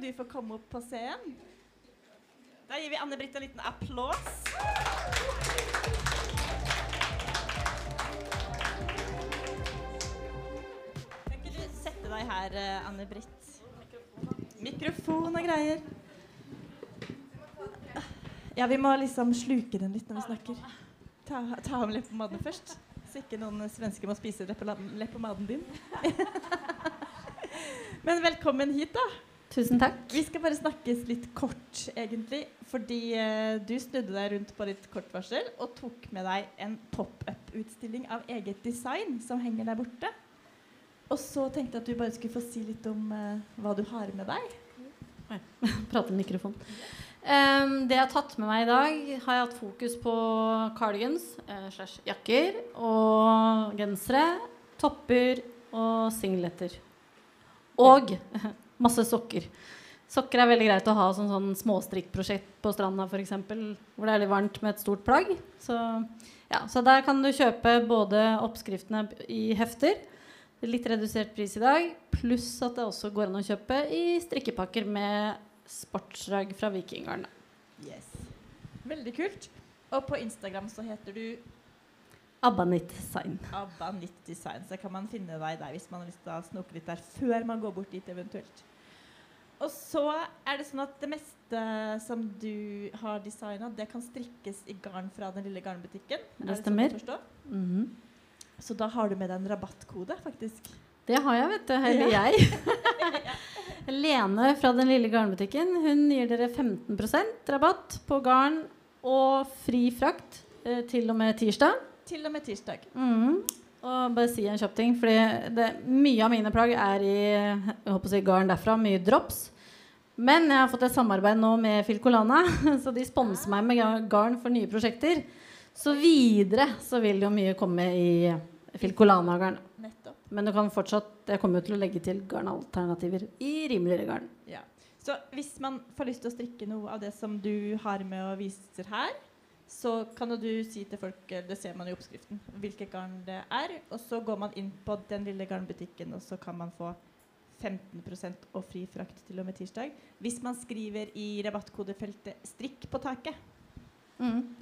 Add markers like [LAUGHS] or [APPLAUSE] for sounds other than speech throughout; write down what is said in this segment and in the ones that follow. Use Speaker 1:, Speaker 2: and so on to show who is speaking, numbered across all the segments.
Speaker 1: du få komma upp på scen. Där ger vi Anne-Britt en liten applåd. Kan inte du sätta dig här, eh, Anne-Britt? Mikrofon och grejer. Ja, vi må liksom sluka den lite när vi snackar. Ta, ta av läpppomaden först. Så inte någon svensk måste spisa läppla- läpppomaden din. Men välkommen hit då.
Speaker 2: Tusen tack.
Speaker 1: Vi ska bara snakkes litt kort, egentlig. Fordi eh, du snudde deg rundt på litt kort varsel og tok med deg en pop-up-utstilling av eget design som henger der borte. Og så tenkte jeg at du bare skulle få si litt om eh, hva du har med deg.
Speaker 2: Prate i mikrofon. Ehm, det jeg har tatt med meg i dag, har jeg hatt fokus på cardigans eh, slash jakker og gensere, topper og singleter. Og [LAUGHS] masse sokker. Sokker er veldig greit å ha som sånn småstrikkprosjekt på stranda f.eks. Hvor det er litt varmt med et stort plagg. Så, ja, så der kan du kjøpe både oppskriftene i hefter Det er Litt redusert pris i dag, pluss at det også går an å kjøpe i strikkepakker med sportsdrag fra Vikingarna.
Speaker 1: Yes. Veldig kult. Og på Instagram så heter du
Speaker 2: Abbanit Sign.
Speaker 1: Abba Nytt Design, så kan man finne deg der hvis man har lyst til å snoke litt der før man går bort dit eventuelt. Og så er det sånn at det meste som du har designa, det kan strikkes i garn fra den lille garnbutikken.
Speaker 2: Det
Speaker 1: Er sånn
Speaker 2: stemmer.
Speaker 1: å forstå?
Speaker 2: Mhm.
Speaker 1: Så da har du med deg en rabattkode, faktisk.
Speaker 2: Det har jeg, vet du. Eller
Speaker 1: Ja.
Speaker 2: [LAUGHS] jeg. Lene fra den lille garnbutikken Hun gir dere 15 rabatt på garn og fri frakt eh, til og med tirsdag.
Speaker 1: Til og med tirsdag.
Speaker 2: Mhm. Og bare si en kjapp ting, fordi det, mye av mine plagg er i jeg håper å si garn derfra. Mye drops. Men jeg har fått et samarbeid nå med Filcolana, [LAUGHS] så de sponser meg med gar- garn for nye prosjekter. Så videre så vil jo mye komme i Filcolana-garn.
Speaker 1: Nettopp.
Speaker 2: Men du kan fortsatt Jeg kommer jo til å legge til garnalternativer i rimeligere garn.
Speaker 1: Ja. Så hvis man får lyst til å strikke noe av det som du har med og viser her, så kan jo du si til folk, eh, det ser man i oppskriften, hvilket garn det er. Og så går man inn på den lille garnbutikken, og så kan man få 15 og fri frakt til og med tirsdag. Hvis man skriver i rabattkodefeltet 'strikk på taket'.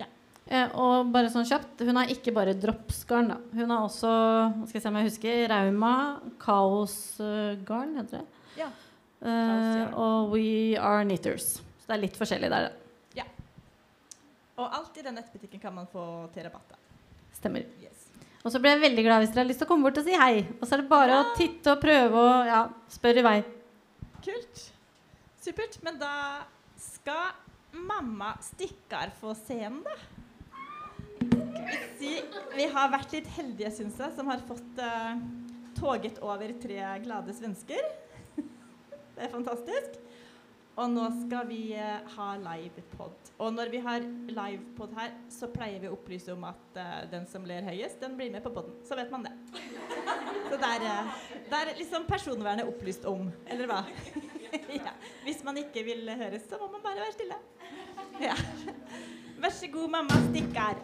Speaker 1: Ja.
Speaker 2: Eh, og bare sånn kjapt, hun har ikke bare dropsgarn, da. Hun har også, hva skal jeg se om jeg husker, Rauma, Kaosgarn, heter det.
Speaker 1: Ja.
Speaker 2: Eh,
Speaker 1: Kaosgarn.
Speaker 2: og We Are Knitters. Så det er litt forskjellig der, da.
Speaker 1: Og alt i den nettbutikken kan man få til rabatt. da.
Speaker 2: Stemmer.
Speaker 1: Yes.
Speaker 2: Og så blir jeg veldig glad hvis dere har lyst til å komme bort og si hei. Og så er det bare å titte og prøve og ja, spørre
Speaker 3: [LAUGHS]
Speaker 2: i vei.
Speaker 1: Kult. Supert. Men da skal mamma Stikkar få scenen, da. Skal vi si Vi har vært litt heldige, syns jeg, som har fått eh, toget over tre glade svensker. [LAUGHS] Det er fantastisk. Og nå skal vi eh, ha livepod. Og når vi har livepod her, så pleier vi å opplyse om at eh, den som ler høyest, den blir med på poden. Så vet man det. Så der, eh, der er liksom personvernet opplyst om, eller hva? [LAUGHS] ja. Hvis man ikke vil høres, så må man bare være stille. Ja. Vær så god, mamma. Stikk her.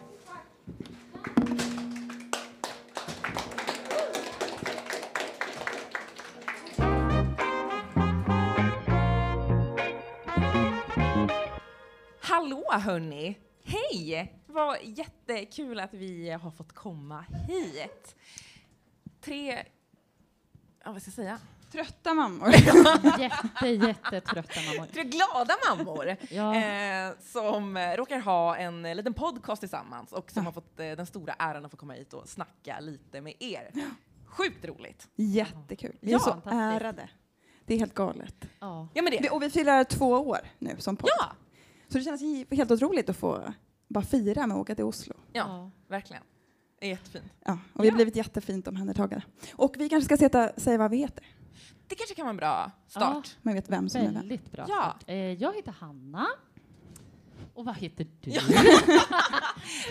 Speaker 4: Hallå hörni! Hej! Vad jättekul att vi har fått komma hit. Tre, ja, vad ska jag säga?
Speaker 5: Trötta mammor.
Speaker 3: Jätte, jättetrötta mammor.
Speaker 4: Tre glada mammor
Speaker 3: Ja,
Speaker 4: eh, som eh, råkar ha en eh, liten podcast tillsammans och som har fått eh, den stora äran att få komma hit och snacka lite med er. Sjukt roligt!
Speaker 5: Jättekul. Vi är
Speaker 4: Ja,
Speaker 5: så
Speaker 3: fantastiskt.
Speaker 5: ärade. Det är helt galet.
Speaker 3: ja.
Speaker 4: Ja men
Speaker 5: Vi-
Speaker 4: det,
Speaker 5: Och vi firar två år nu som podd.
Speaker 4: ja,
Speaker 5: Så det känns hi- helt otroligt att få bara fira med att åka till Oslo.
Speaker 4: ja verkligen. Det är jättefint.
Speaker 5: Ja, och vi har
Speaker 4: Ja.
Speaker 5: blivit jättefint omhändertagna. Och vi kanske ska seta, säga vad vi heter.
Speaker 4: Det kanske kan vara en bra start.
Speaker 5: Man vet vem som är vem.
Speaker 3: Väldigt bra.
Speaker 4: Ja.
Speaker 3: Eh, Jag heter Hanna. Och vad heter du?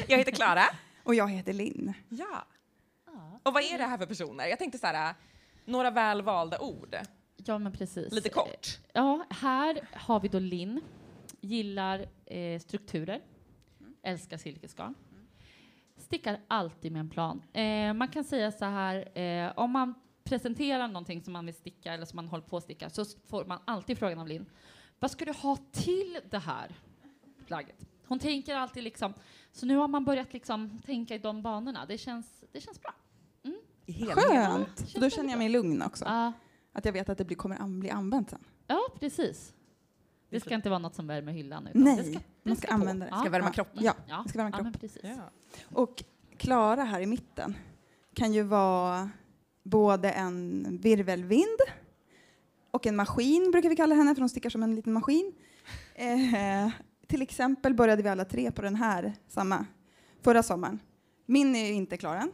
Speaker 4: Jag heter Klara.
Speaker 5: Och jag heter Linn.
Speaker 4: Ja.
Speaker 3: Ja.
Speaker 4: Och vad är det här för personer? Jag tänkte så här, några välvalda ord.
Speaker 3: Ja, men precis.
Speaker 4: Lite kort.
Speaker 3: Ja, här har vi då Linn. Gillar eh, strukturer.
Speaker 4: Mm.
Speaker 3: Älskar silkesgarn. Stickar alltid med en plan. Eh, man kan säga så här, eh, om man presenterar någonting som man vill sticka eller som man håller på att sticka så s- får man alltid frågan av Linn, vad ska du ha till det här plagget? Hon tänker alltid liksom, så nu har man börjat liksom tänka i de banorna. Det känns, det känns bra.
Speaker 4: I hela
Speaker 5: Skönt! Då känner jag mig lugn också.
Speaker 3: Ja,
Speaker 5: Att jag vet att det blir, kommer an, bli använt sen.
Speaker 3: ja, precis. Det ska inte vara något som värmer hyllan. utan Det ska,
Speaker 5: Nej,
Speaker 3: det
Speaker 5: man ska
Speaker 3: på.
Speaker 5: använda det.
Speaker 3: Ja,
Speaker 5: Ska värma
Speaker 3: ja,
Speaker 5: kroppen.
Speaker 3: mm,
Speaker 5: Ja,
Speaker 3: ja.
Speaker 5: det ska värma
Speaker 3: ja, men
Speaker 5: kroppen.
Speaker 3: precis.
Speaker 4: Ja.
Speaker 5: Och Klara här i mitten kan ju vara både en virvelvind och en maskin, brukar vi kalla henne, för hon stickar som en liten maskin. Eh, till exempel började vi alla tre på den här samma förra sommaren. Min är ju inte klar än.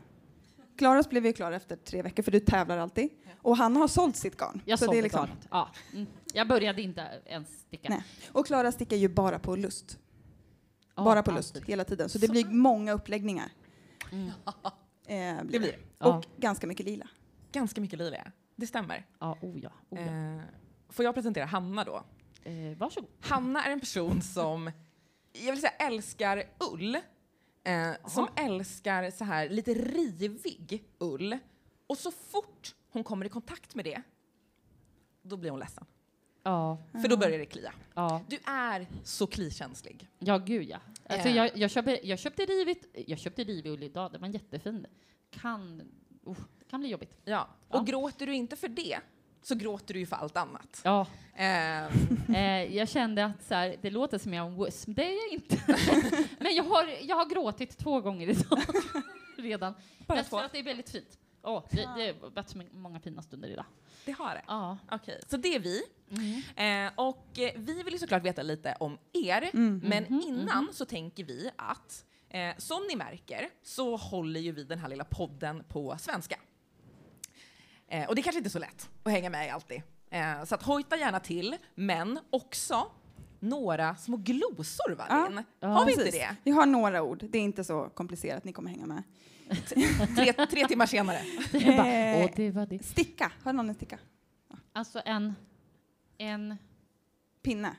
Speaker 5: Klaras blev ju klar efter tre veckor, för du tävlar alltid. Och han har sålt sitt garn.
Speaker 3: Jag
Speaker 5: så
Speaker 3: såg
Speaker 5: det
Speaker 3: det
Speaker 5: är liksom,
Speaker 3: garnet. ja. mm. Jag började inte ens sticka.
Speaker 5: Nej. och Klara stickar ju bara på lust.
Speaker 3: Ja,
Speaker 5: bara på
Speaker 3: alltid.
Speaker 5: lust hela tiden. Så det blir många uppläggningar.
Speaker 3: Mm.
Speaker 5: Eh, blir det. Och
Speaker 3: Ja.
Speaker 5: ganska mycket lila.
Speaker 4: Ganska mycket lila, det stämmer.
Speaker 3: Ja, oh ja. Oh ja.
Speaker 4: Eh, får jag presentera Hanna då?
Speaker 3: Eh, varsågod.
Speaker 4: Hanna är en person som, jag vill säga älskar ull. Eh, som älskar så här lite rivig ull. Och så fort hon kommer i kontakt med det, då blir hon ledsen.
Speaker 3: Ja,
Speaker 4: För
Speaker 5: Mm.
Speaker 4: då börjar det klia.
Speaker 3: ja.
Speaker 4: Du är så klikänslig.
Speaker 3: Ja, gud ja. Alltså,
Speaker 4: Eh.
Speaker 3: jag, jag, köper, jag köpte rivigt, jag köpte rivig ull idag, den var jättefin. Kan, oh, det kan bli jobbigt.
Speaker 4: Ja.
Speaker 3: Ja.
Speaker 4: Och gråter du inte för det, så gråter du ju för allt annat.
Speaker 5: [LAUGHS]
Speaker 3: Ja,
Speaker 4: Eh,
Speaker 3: [LAUGHS] eh, jag kände att så här, det låter som jag är en wuss, men det är jag inte. [LAUGHS] men jag har, jag har gråtit två gånger idag
Speaker 5: [LAUGHS]
Speaker 3: redan.
Speaker 4: bara
Speaker 3: Men
Speaker 4: två.
Speaker 3: för att det är väldigt fint. Åh, det, det har varit så många fina stunder idag.
Speaker 4: Det har det.
Speaker 3: [LAUGHS] Ja.
Speaker 4: Okej, så det är vi. Eh, och eh, vi vill ju såklart veta lite om er,
Speaker 5: Mm.
Speaker 3: Mm.
Speaker 4: men innan så tänker vi att eh, som ni märker så håller ju vi den här lilla podden på svenska. Eh, och det är kanske inte är så lätt att hänga med i alltid. Eh, så att hojta gärna till, men också några små glosor, va,
Speaker 5: Ja.
Speaker 4: Linn?
Speaker 3: Ja,
Speaker 4: Har vi inte
Speaker 5: Precis.
Speaker 4: det?
Speaker 5: Vi har några ord. Det är inte så komplicerat, ni kommer hänga med.
Speaker 4: Tre, tre timmar senare.
Speaker 3: Jag bara,
Speaker 5: Eh.
Speaker 3: åh, det var det.
Speaker 5: Sticka, har någon en sticka?
Speaker 3: Alltså en, en
Speaker 5: Pinne.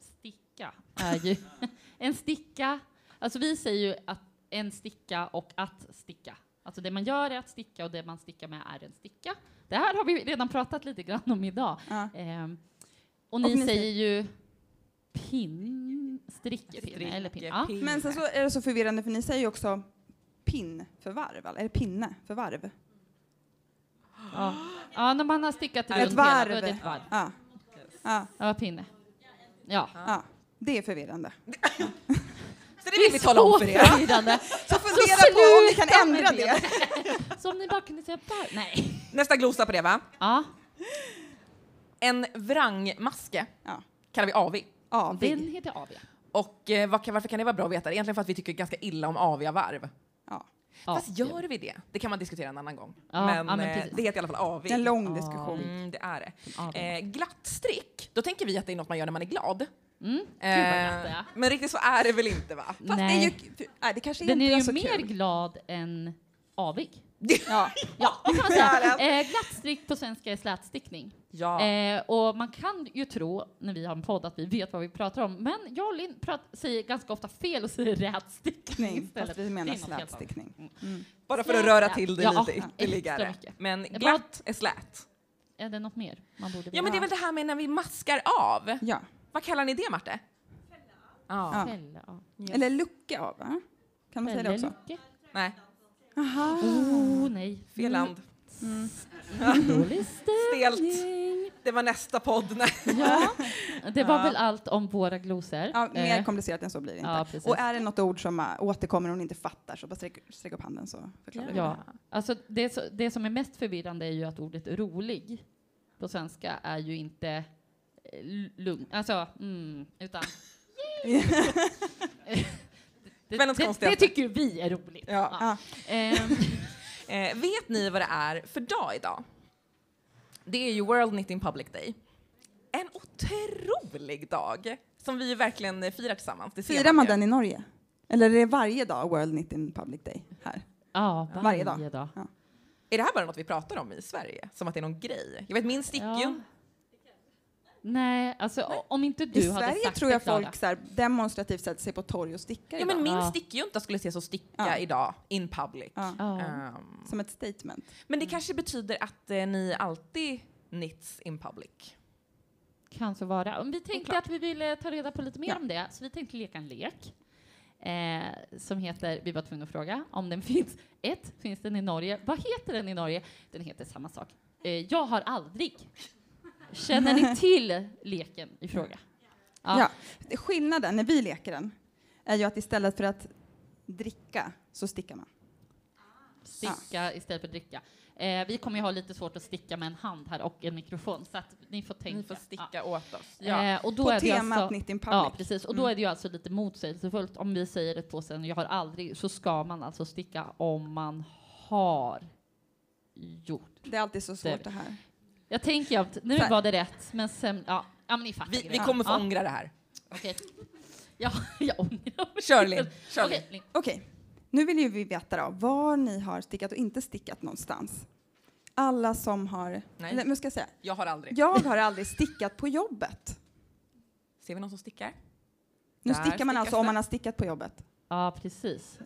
Speaker 3: sticka är ju... [LAUGHS] en sticka... Alltså vi säger ju att en sticka och att sticka. Alltså det man gör är att sticka och det man stickar med är en sticka. Det här har vi redan pratat lite grann om idag.
Speaker 5: Ja.
Speaker 3: Ehm, och ni
Speaker 5: Och ni
Speaker 3: säger ju pinn... Strickepinne eller pinn. Ja.
Speaker 5: Men sen så är det så förvirrande för ni säger ju också pinn för varv, eller är det pinne för varv?
Speaker 3: Ja. ja, när man har stickat runt
Speaker 5: Ett
Speaker 3: hela, då är
Speaker 5: varv.
Speaker 3: det ett varv.
Speaker 5: Ja. Ja,
Speaker 3: Ja, pinne. Ja.
Speaker 5: ja. Det är förvirrande.
Speaker 4: Så det vill vi tala om för er.
Speaker 3: förvirrande.
Speaker 5: Så fundera på om ni kan
Speaker 3: sluta med
Speaker 5: ändra det.
Speaker 3: Så om ni bara kunde säga varv. Nej.
Speaker 4: Nästa glosa på det, va?
Speaker 3: Ja,
Speaker 4: En vrangmaske
Speaker 5: Ja.
Speaker 4: kallar vi AV.
Speaker 3: den
Speaker 5: Avig.
Speaker 3: heter AW.
Speaker 4: Och eh, vad kan- varför kan det vara bra att veta? det? Egentligen för att vi tycker ganska illa om aviga varv.
Speaker 5: Ja.
Speaker 3: Ja,
Speaker 4: Fast gör vi det? Det kan man diskutera en annan gång.
Speaker 3: Ja,
Speaker 4: men
Speaker 3: ja, men
Speaker 4: eh,
Speaker 3: precis.
Speaker 4: det heter i alla fall avig.
Speaker 5: En lång
Speaker 3: Ja.
Speaker 5: diskussion.
Speaker 4: Mm, det är det.
Speaker 3: AW.
Speaker 4: Eh, glatt strick, då tänker vi att det är något man gör när man är glad.
Speaker 3: Mm. Gud vad glatt det
Speaker 4: Eh,
Speaker 3: är.
Speaker 4: men riktigt så är det väl inte va?
Speaker 5: Fast det är
Speaker 3: Nej.
Speaker 5: ju... Nej, det kanske
Speaker 3: Den
Speaker 5: inte
Speaker 3: är
Speaker 5: är
Speaker 3: ju
Speaker 5: så
Speaker 3: mer
Speaker 5: kul.
Speaker 3: glad än avig.
Speaker 5: Ja.
Speaker 3: Ja, det kan man
Speaker 5: Ja,
Speaker 3: säga. Eh, glattstick på svenska är slätstickning.
Speaker 4: Ja.
Speaker 3: Eh, och man kan ju tro, när vi har en podd, att vi vet vad vi pratar om. Men jag och Linn prat- säger ganska ofta fel och säger rätstickning
Speaker 5: Nej,
Speaker 3: istället.
Speaker 5: Mm, fast vi
Speaker 3: Det
Speaker 5: menar
Speaker 3: är något helt annat.
Speaker 5: slätstickning.
Speaker 4: Bara för att
Speaker 3: slät.
Speaker 4: röra till det
Speaker 3: Ja,
Speaker 4: lite
Speaker 3: extra
Speaker 4: ytterligare.
Speaker 3: mycket.
Speaker 4: Men
Speaker 3: bara-
Speaker 4: glatt är slät.
Speaker 3: Är det något mer man borde veta?
Speaker 4: Ja men det är väl det här med när vi maskar av.
Speaker 5: Ja.
Speaker 4: Vad kallar ni det Marte? Ja.
Speaker 5: Ja.
Speaker 3: Fälla, ja.
Speaker 5: Eller lucka av, va? Kan man säga det
Speaker 3: Fälla
Speaker 5: också?
Speaker 3: Lycke?
Speaker 4: Nej,
Speaker 3: Oh, nej.
Speaker 4: fel land.
Speaker 3: Dålig stämning.
Speaker 4: Det var nästa podd. Nej.
Speaker 3: Ja, det var
Speaker 4: Ja.
Speaker 3: väl allt om våra glosor.
Speaker 5: Ja, mer
Speaker 3: Eh,
Speaker 5: komplicerat än så blir det inte.
Speaker 3: ja, precis.
Speaker 5: och är det något ord som äh, återkommer och hon inte fattar så bara sträck, sträck upp handen så förklarar vi.
Speaker 3: Ja, alltså det, så- det som är mest förvirrande är ju att ordet rolig på svenska är ju inte eh, l- lugn, alltså mm, utan det,
Speaker 4: Men något
Speaker 3: det,
Speaker 4: konstigt.
Speaker 3: det tycker vi är roligt.
Speaker 4: Ja.
Speaker 3: Ja. Ehm,
Speaker 4: Eh, vet ni vad det är för dag idag? Det är ju World Knitting Public Day. En otrolig dag som vi ju verkligen eh, firar tillsammans. Det ser
Speaker 5: [LAUGHS] Firar man
Speaker 4: ju.
Speaker 5: den i Norge? Eller är det varje dag World Knitting Public Day här?
Speaker 3: ja, varje,
Speaker 5: Varje dag.
Speaker 3: dag.
Speaker 4: Är det här bara något vi pratar om i Sverige? Som att det är någon grej? Jag vet, min sticker ju...
Speaker 3: Ja. Nej, alltså o- om inte du
Speaker 5: I
Speaker 3: hade
Speaker 5: Sverige
Speaker 3: sagt
Speaker 5: tror
Speaker 3: det,
Speaker 5: jag
Speaker 3: Klara.
Speaker 5: folk så här, demonstrativt sätter sig på torg och stickar
Speaker 4: Ja, men
Speaker 5: idag.
Speaker 4: min
Speaker 3: Ja.
Speaker 4: stickjunta skulle ses som sticka
Speaker 5: Ja.
Speaker 4: idag, in public.
Speaker 5: Ja,
Speaker 3: Ja.
Speaker 4: Ehm,
Speaker 5: som ett statement.
Speaker 4: men det kanske betyder att eh, ni alltid knits in public.
Speaker 3: Kan så vara. Om Vi tänkte
Speaker 4: Oklart.
Speaker 3: att vi ville ta reda på lite mer
Speaker 5: Ja.
Speaker 3: om det, så vi tänkte leka en lek eh, som heter Vi var tvungna att fråga om den [LAUGHS] finns. Ett, finns den i Norge? Vad heter den i Norge? Den heter samma sak. Eh, jag har aldrig. Känner ni till leken i fråga? Ja.
Speaker 5: Ja. Skillnaden när vi leker den är ju att istället för att dricka så stickar man.
Speaker 3: Sticka istället för dricka. Eh, vi kommer ju ha lite svårt att sticka med en hand här och en mikrofon, så att ni får tänka.
Speaker 4: Ni får sticka
Speaker 3: Ja.
Speaker 4: åt oss. Ja.
Speaker 3: Eh, och då
Speaker 5: på
Speaker 3: är det ju
Speaker 5: temat
Speaker 3: alltså-
Speaker 5: Knit in public.
Speaker 3: Ja, precis. Och då
Speaker 5: Mm.
Speaker 3: är det ju alltså lite motsägelsefullt. Om vi säger ett påstående, jag har aldrig, så ska man alltså sticka om man har gjort.
Speaker 5: Det är alltid så svårt det här.
Speaker 3: Jag tänker att nu
Speaker 5: Fair.
Speaker 3: var det rätt, men sen, ja, ja men ni fattar.
Speaker 4: Vi, vi
Speaker 3: grejen.
Speaker 4: kommer få
Speaker 3: ja,
Speaker 4: ångra det här.
Speaker 3: okej. ja, [LAUGHS] jag ångrar mig.
Speaker 4: Kör
Speaker 3: [LAUGHS]
Speaker 4: Linn. Kör Linn.
Speaker 3: Okej, Linn.
Speaker 5: Okej, nu vill ju vi veta då, var ni har stickat och inte stickat någonstans. Alla som har...
Speaker 4: Nej.
Speaker 5: Nej. men ska jag säga?
Speaker 4: Jag har aldrig.
Speaker 5: Jag har aldrig stickat på jobbet.
Speaker 4: Ser vi någon som stickar? Där
Speaker 5: Nu stickar man
Speaker 4: stickas
Speaker 5: alltså om
Speaker 4: det.
Speaker 5: man har stickat på jobbet.
Speaker 3: Ja, precis.